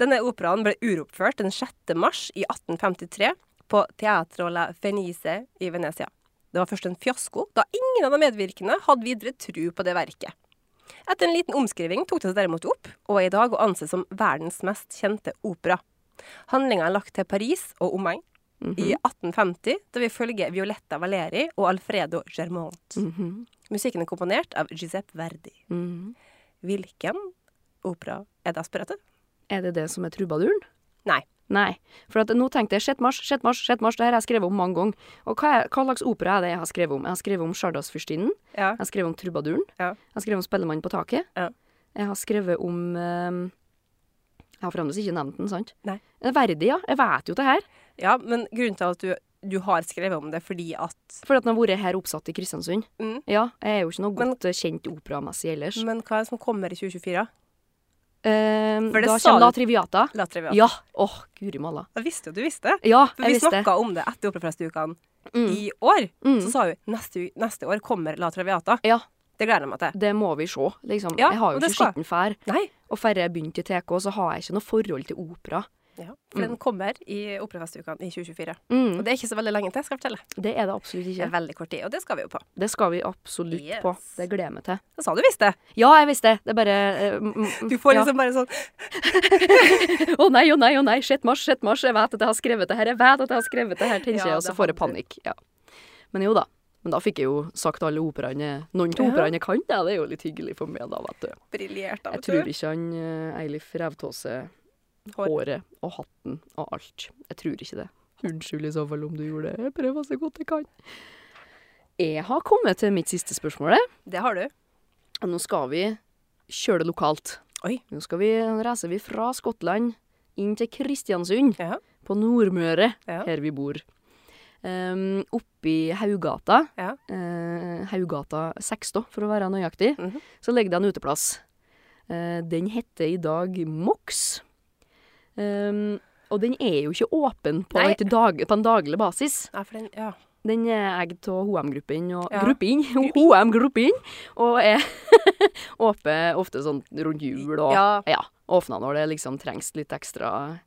Speaker 2: Denne operaen ble uroppført den 6. mars i 1853 på Teatro la Fenice i Venezia. Det var først en fiasko, da ingen av de medvirkende hadde videre tru på det verket. Etter en liten omskriving tok det seg derimot opp, og er i dag å anse som verdens mest kjente opera. Handlinga er lagt til Paris og omegn i 1850, da vi følger Violetta Valeri og Alfredo Germont.
Speaker 3: Mhm.
Speaker 2: Musikken er komponert av Giuseppe Verdi.
Speaker 3: Mhm.
Speaker 2: Hvilken opera er det aspirert til?
Speaker 3: Er det det som er trubaduren?
Speaker 2: Nei.
Speaker 3: Nei. For at nå tenkte jeg 6. mars, 6. mars, 6. mars. Det her har jeg skrevet om mange ganger. Og hva, er, hva slags opera er det jeg har skrevet om? Jeg har skrevet om Stjardalsfyrstinnen.
Speaker 2: Ja.
Speaker 3: Jeg har skrevet om Trubaduren.
Speaker 2: Ja.
Speaker 3: Jeg har skrevet om Spellemannen på taket.
Speaker 2: Ja.
Speaker 3: Jeg har skrevet om ehm, Jeg har fremdeles ikke nevnt den, sant?
Speaker 2: Nei.
Speaker 3: Verdig, ja. Jeg vet jo det her.
Speaker 2: Ja, men grunnen til at du, du har skrevet om det fordi at
Speaker 3: Fordi at den har vært her oppsatt i Kristiansund.
Speaker 2: Mm.
Speaker 3: Ja, jeg er jo ikke noe
Speaker 2: Men-
Speaker 3: godt eh, kjent operamessig ellers.
Speaker 2: Men hva er det som kommer i 2024?
Speaker 3: Ehm,
Speaker 2: For det
Speaker 3: da
Speaker 2: sa
Speaker 3: kommer La
Speaker 2: du-
Speaker 3: Triviata.
Speaker 2: La trivia.
Speaker 3: Ja. Åh, guri malla.
Speaker 2: Jeg visste jo du visste.
Speaker 3: Ja,
Speaker 2: For
Speaker 3: jeg
Speaker 2: vi
Speaker 3: visste.
Speaker 2: snakka om det etter Operafestukene
Speaker 3: Mm.
Speaker 2: i år.
Speaker 3: Mm.
Speaker 2: Så sa hun neste, u- neste år kommer La Traviata.
Speaker 3: Ja,
Speaker 2: Det gleder jeg meg til.
Speaker 3: det må vi se, liksom.
Speaker 2: Ja,
Speaker 3: jeg har
Speaker 2: og
Speaker 3: jo
Speaker 2: det
Speaker 3: ikke
Speaker 2: skal.
Speaker 3: skitten fær.
Speaker 2: Nei,
Speaker 3: Og før jeg begynte i TK, så har jeg ikke noe forhold til opera.
Speaker 2: ja, for den kommer i Operafestukene i 2024. Og
Speaker 3: Mm.
Speaker 2: det er ikke så veldig lenge til, skal jeg fortelle.
Speaker 3: Det er det absolutt
Speaker 2: Det er
Speaker 3: ikke.
Speaker 2: veldig kort tid, og det skal vi jo på.
Speaker 3: Det skal vi absolutt
Speaker 2: Yes.
Speaker 3: på. Det gleder jeg meg til.
Speaker 2: Da sa du visst det.
Speaker 3: Ja, jeg visste det. Det er bare eh, mm,
Speaker 2: (laughs)
Speaker 3: mm,
Speaker 2: Du får
Speaker 3: ja.
Speaker 2: liksom bare sånn
Speaker 3: Å nei, å nei, å nei. 6. mars, 6. mars. Jeg vet at jeg har skrevet det her. Jeg vet at jeg har skrevet det her, tenker
Speaker 2: Ja,
Speaker 3: jeg, og så
Speaker 2: det
Speaker 3: får jeg
Speaker 2: hadde
Speaker 3: panikk. Ja. Men jo da. Men da fikk jeg jo sagt alle operaene Noen av
Speaker 2: Ja.
Speaker 3: operaene jeg kan, da. Det er jo litt hyggelig for meg, da, vet du.
Speaker 2: briljert av
Speaker 3: Jeg tror ikke han eh, Eilif Revtåse
Speaker 2: Hår.
Speaker 3: Håret og hatten og alt. Jeg tror ikke det. Unnskyld i så fall om du gjorde det. Jeg prøver så godt jeg kan. Jeg har kommet til mitt siste spørsmål. jeg.
Speaker 2: Det har du.
Speaker 3: Og Nå skal vi kjøre det lokalt.
Speaker 2: Oi.
Speaker 3: Nå skal vi, nå reiser vi fra Skottland inn til Kristiansund,
Speaker 2: Ja.
Speaker 3: på Nordmøre,
Speaker 2: Ja.
Speaker 3: her vi bor. Um, oppi Haugata,
Speaker 2: Ja.
Speaker 3: eh, Haugata 6 da, for å være nøyaktig,
Speaker 2: Mhm.
Speaker 3: så ligger det en uteplass. Eh, den heter i dag Mox. Um, og den er jo ikke åpen på,
Speaker 2: Nei.
Speaker 3: et dag, på en daglig basis.
Speaker 2: Ja, for den, ja.
Speaker 3: Den er eid av HM-gruppen og
Speaker 2: Ja. (laughs)
Speaker 3: gruppen, HM-gruppen, og er (laughs) åpen ofte sånn rundt jul og
Speaker 2: Ja.
Speaker 3: ja, åpna når det liksom trengs litt ekstra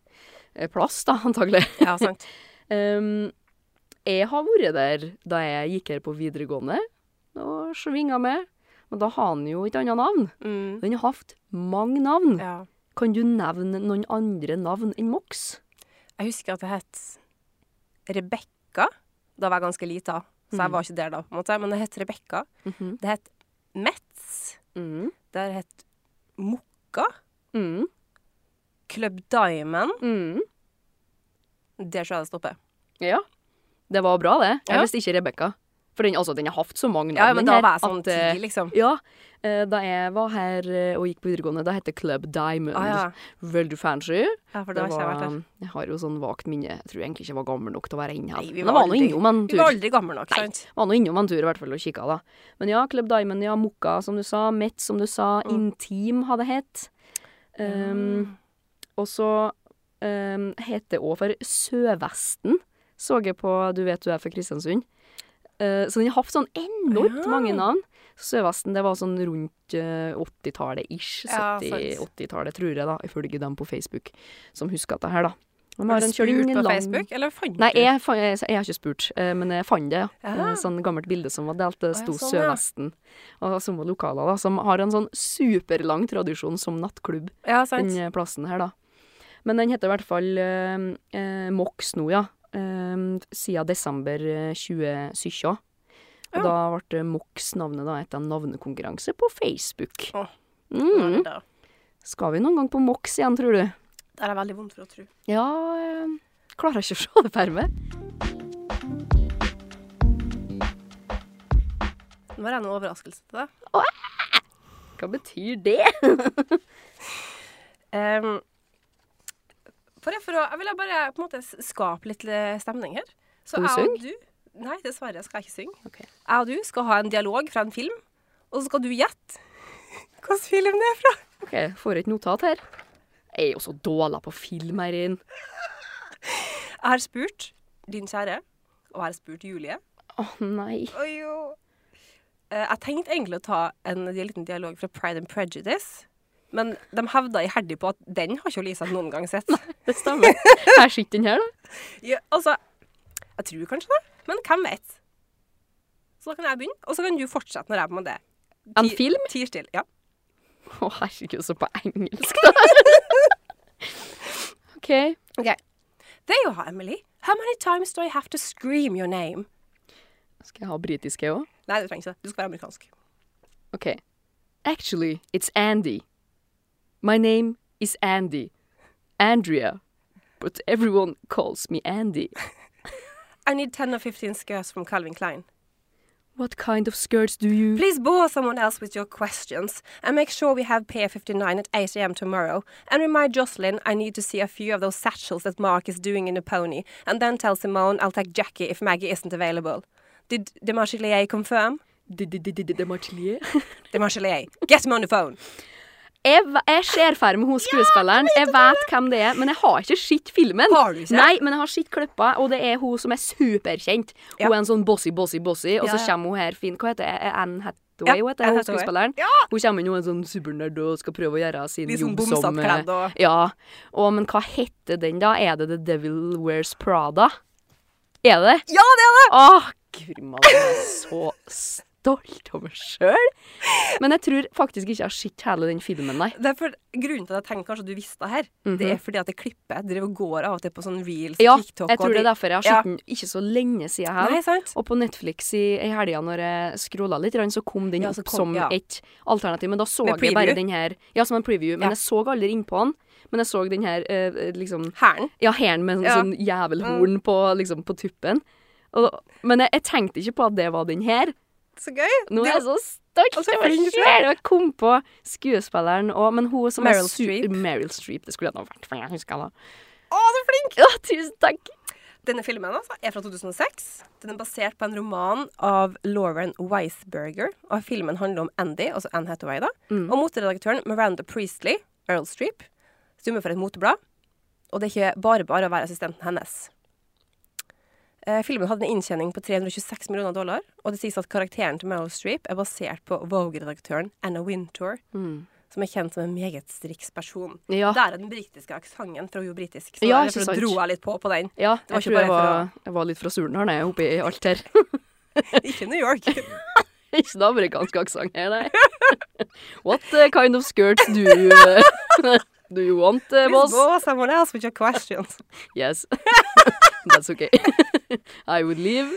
Speaker 3: eh, plass, da, (laughs) antagelig.
Speaker 2: ja, sant.
Speaker 3: Ehm, jeg har vært der da jeg gikk her på videregående og svinga med. Men da har han jo et annet navn.
Speaker 2: Mm.
Speaker 3: Den har hatt mange navn.
Speaker 2: Ja.
Speaker 3: Kan du nevne noen andre navn enn Mox?
Speaker 2: Jeg husker at det het Rebekka. Da var jeg ganske lita, så jeg
Speaker 3: Mm.
Speaker 2: var ikke der da. på en måte. Men det het Rebekka.
Speaker 3: Mhm.
Speaker 2: Det het Metz.
Speaker 3: Mm.
Speaker 2: Det het Mokka.
Speaker 3: Mm.
Speaker 2: Club Diamond.
Speaker 3: Mm.
Speaker 2: Der tror jeg det stopper.
Speaker 3: Ja. Det var bra, det. Jeg
Speaker 2: Ja.
Speaker 3: visste ikke Rebekka. For den, altså, den har hatt så mange navn.
Speaker 2: Ja, men
Speaker 3: den
Speaker 2: da
Speaker 3: her,
Speaker 2: var jeg sånn
Speaker 3: at, eh,
Speaker 2: ti, liksom.
Speaker 3: Ja. eh, Da jeg var her eh, og gikk på videregående, da het det Club Diamond.
Speaker 2: Ah, ja.
Speaker 3: Veldig fancy.
Speaker 2: ja, for da har ikke jeg vært der.
Speaker 3: Jeg har jo sånn vagt minne. Jeg tror jeg egentlig ikke jeg var gammel nok til å være inne her.
Speaker 2: Nei, vi
Speaker 3: Men jeg
Speaker 2: var
Speaker 3: var nå
Speaker 2: aldri-
Speaker 3: innom en
Speaker 2: Vi var
Speaker 3: tur.
Speaker 2: aldri gamle nok,
Speaker 3: Nei.
Speaker 2: sant?
Speaker 3: Var nå innom en tur i hvert fall og kikka, da. Men ja, Club Diamond, ja, Mokka, som du sa. Met, som du sa.
Speaker 2: Mm.
Speaker 3: Intim har det hett. Um, Og så um, het det òg for Sørvesten, så jeg på Du vet du er fra Kristiansund. Eh, så den har hatt sånn enormt
Speaker 2: Ja.
Speaker 3: mange navn. Sørvesten det var sånn rundt eh, 80-tallet ish.
Speaker 2: Ja, sant.
Speaker 3: 70-80-tallet, tror jeg, da, ifølge dem på Facebook som husker dette her, da. De
Speaker 2: Har
Speaker 3: en
Speaker 2: du
Speaker 3: kjøring
Speaker 2: spurt på
Speaker 3: lang-
Speaker 2: Facebook, eller fant
Speaker 3: Nei,
Speaker 2: du?
Speaker 3: jeg, fa- jeg, jeg har ikke spurt, eh, men jeg fant det. Ja.
Speaker 2: Ja.
Speaker 3: Et sånn gammelt bilde som var delt. Det
Speaker 2: Å ja,
Speaker 3: sto
Speaker 2: sånn, ja.
Speaker 3: Sørvesten. Og som var lokaler, da. Som har en sånn superlang tradisjon som nattklubb,
Speaker 2: Ja, sant.
Speaker 3: den eh, plassen her, da. Men den heter i hvert fall eh, eh, Mox nå, ja. Eh, siden desember eh, 2017. Og
Speaker 2: Ja.
Speaker 3: da ble Mox navnet da etter en navnekonkurranse på Facebook.
Speaker 2: Å.
Speaker 3: Mm.
Speaker 2: Da.
Speaker 3: Skal vi noen gang på Mox igjen, tror du?
Speaker 2: Det er veldig vondt for å tro.
Speaker 3: Ja, eh, klarer jeg ikke å se det for meg.
Speaker 2: Nå har jeg en overraskelse til deg.
Speaker 3: Hva betyr det?
Speaker 2: Ehm, bare for å, jeg ville bare på en måte s- skape litt eh, stemning her. Så
Speaker 3: Skal du
Speaker 2: jeg og du Nei, dessverre skal jeg ikke synge.
Speaker 3: Ok.
Speaker 2: Jeg og du skal ha en dialog fra en film, og så skal du gjette (laughs) hvilken film det er fra.
Speaker 3: OK, får et notat her. Jeg er jo så dårlig på film her inn.
Speaker 2: Jeg har spurt din kjære, og jeg har spurt Julie.
Speaker 3: Å nei.
Speaker 2: Eh, Jeg tenkte egentlig å ta en liten dialog fra Pride and Prejudice, men de hevda iherdig på at den har ikke Lisa noen gang sett.
Speaker 3: Det stemmer. Her sitter den her, da.
Speaker 2: Ja, altså, jeg tror kanskje det, men hvem vet? Så da kan jeg begynne, og så kan du fortsette når jeg er med det.
Speaker 3: En
Speaker 2: Ti-
Speaker 3: film?
Speaker 2: Tier stille, ja.
Speaker 3: (laughs) Å herregud, så på engelsk, da. (laughs) OK.
Speaker 2: Det er jo her, Emily. How many times do I have to scream your name?
Speaker 3: Skal jeg ha britiske òg?
Speaker 2: Nei, du trenger ikke det. Du skal være amerikansk.
Speaker 3: Okay. Actually, it's Andy. My name is Andy. Andrea. But everyone calls me Andy.
Speaker 2: I need 10 or 15 skirts from Calvin Klein.
Speaker 3: What kind of skirts do you?
Speaker 2: Please bore someone else with your questions and make sure we have Pier 59 at 8 a.m. tomorrow. And remind Jocelyn I need to see a few of those satchels that Mark is doing in the pony. And then tell Simone I'll take Jackie if Maggie isn't available. Did the Marchelier confirm?
Speaker 3: D- d- d- d- d- Martelier.
Speaker 2: The Marchelier. Get him on the
Speaker 3: (laughs)
Speaker 2: phone.
Speaker 3: Jeg, v- jeg ser ferdig med hun skuespilleren. Jeg vet hvem det er, men jeg har ikke sett filmen.
Speaker 2: Har du ikke?
Speaker 3: Nei, men jeg har sett klippa, og det er hun som er superkjent.
Speaker 2: Ja.
Speaker 3: Hun er en sånn bossy, bossy, bossy, og
Speaker 2: Ja,
Speaker 3: så
Speaker 2: ja.
Speaker 3: kommer hun her fin Hva heter det? Anne Hathaway,
Speaker 2: Ja,
Speaker 3: hun heter
Speaker 2: Anne
Speaker 3: hun
Speaker 2: Hathaway.
Speaker 3: skuespilleren. Hun kommer inn og er en sånn supernerd og skal prøve å gjøre sin
Speaker 2: Litt sånn
Speaker 3: jobb som eh,
Speaker 2: bomsatt kledd og-
Speaker 3: Ja. Og, men hva heter den, da? Er det The Devil Wears Prada? Er det det?
Speaker 2: Ja, det er det!
Speaker 3: Åh, guri malla, jeg er så stolt over meg sjøl. Men jeg tror faktisk ikke jeg har sett hele den filmen, nei.
Speaker 2: Det er for, grunnen til at jeg tenkte kanskje du visste det her, det er fordi at det klippet driver og går av og til på sånn reels
Speaker 3: Mhm. Ja,
Speaker 2: og TikTok.
Speaker 3: jeg tror det er derfor jeg har sett
Speaker 2: den.
Speaker 3: den ikke så lenge siden jeg
Speaker 2: Nei,
Speaker 3: har.
Speaker 2: sant?
Speaker 3: Og på Netflix i, i helga når jeg scrolla litt, grann, så kom den
Speaker 2: Ja, så
Speaker 3: opp
Speaker 2: kom-
Speaker 3: som
Speaker 2: ja.
Speaker 3: et alternativ. Men da så
Speaker 2: Med
Speaker 3: jeg bare
Speaker 2: preview?
Speaker 3: den her Ja, som en preview. Men
Speaker 2: Ja.
Speaker 3: jeg så aldri innpå den. Men jeg så den her eh, liksom
Speaker 2: Hæren.
Speaker 3: Ja, hæren med sånn,
Speaker 2: Ja.
Speaker 3: sånn jævelhorn på, liksom, på tuppen. Og, men jeg, jeg tenkte ikke på at det var den her.
Speaker 2: Så gøy.
Speaker 3: Nå
Speaker 2: Det-
Speaker 3: er jeg så stolt
Speaker 2: Og så
Speaker 3: over
Speaker 2: flink
Speaker 3: meg
Speaker 2: du er.
Speaker 3: selv! Og jeg kom på skuespilleren og Men hun som
Speaker 2: Meryl
Speaker 3: er su-
Speaker 2: Streep.
Speaker 3: Meryl Streep. Det skulle jeg nå vært, for jeg husker henne.
Speaker 2: Å, så flink!
Speaker 3: Ja, tusen takk!
Speaker 2: Denne filmen altså, er fra 2006. Den er basert på en roman av Lauren Weisberger. Og filmen handler om Andy, altså Anne Hathaway, da,
Speaker 3: Mm.
Speaker 2: og moteredaktøren Miranda Priestley, Earl Streep, stummer for et moteblad. Og det er ikke bare bare å være assistenten hennes. Eh, filmen hadde en inntjening på 326 millioner dollar, og det sies at karakteren til Meryl Streep er basert på Vogue-redaktøren Anna Wintour,
Speaker 3: Mm.
Speaker 2: som er kjent som en meget striks person.
Speaker 3: Ja.
Speaker 2: Der er den britiske aksenten fra jo britisk, så
Speaker 3: Ja,
Speaker 2: derfor
Speaker 3: ikke sant.
Speaker 2: dro jeg litt på på den.
Speaker 3: Ja,
Speaker 2: var
Speaker 3: jeg
Speaker 2: ikke
Speaker 3: tror
Speaker 2: bare
Speaker 3: jeg
Speaker 2: for
Speaker 3: var, jeg var litt fra Surnadal, jeg, oppi alt her. (laughs)
Speaker 2: Ikke New (laughs) York.
Speaker 3: ikke noe amerikansk aksent her, nei. (laughs) What eh, kind of skirts do you, eh, (laughs) do you want, eh,
Speaker 2: Please
Speaker 3: boss?
Speaker 2: go someone else with your questions.
Speaker 3: Yes. (laughs) That's okay. (laughs) I would leave.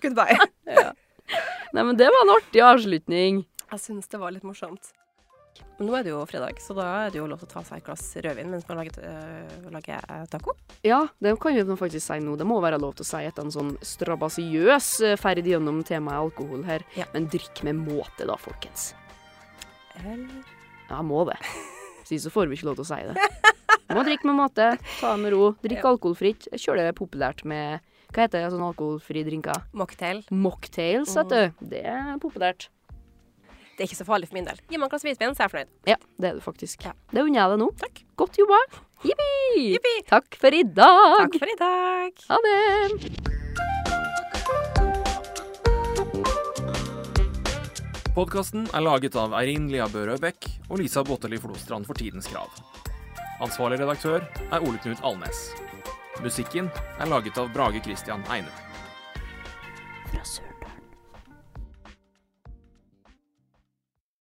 Speaker 2: Goodbye.
Speaker 3: Nei, men det var en artig avslutning.
Speaker 2: (laughs) Jeg syns det var litt morsomt. Men nå er det jo fredag, så da er det jo lov til å ta seg et glass rødvin mens man lager, øh, lager eh, taco.
Speaker 3: Ja, det kan vi nå faktisk si nå. Det må være lov til å si etter en sånn strabasiøs eh, ferd gjennom temaet alkohol her.
Speaker 2: Ja.
Speaker 3: Men drikk med måte da, folkens.
Speaker 2: Eller
Speaker 3: Ja, må det. Si så får vi ikke lov til å si det. Må drikke med måte, ta det med ro, drikke alkoholfritt. Kjør det populært med Hva heter det, sånn alkoholfrie drinker?
Speaker 2: mocktail.
Speaker 3: Mocktails, vet du. Det er populært.
Speaker 2: Det er ikke så farlig for min del. Gi meg et glass hvitvin, så er jeg fornøyd.
Speaker 3: Ja, det er det faktisk.
Speaker 2: Ja.
Speaker 3: Det unner jeg deg nå.
Speaker 2: Takk.
Speaker 3: Godt jobba. Jippi!
Speaker 2: Jippi.
Speaker 3: Takk for i dag.
Speaker 2: Takk for i dag.
Speaker 3: Ha det.
Speaker 1: Podkasten er laget av Eirin Lia Børø Bech og Lisa Botteli Flostrand for Tidens Krav. Ansvarlig redaktør er Ole Knut Alnes. Musikken er laget av Brage Christian Eine.
Speaker 3: Fra Sør.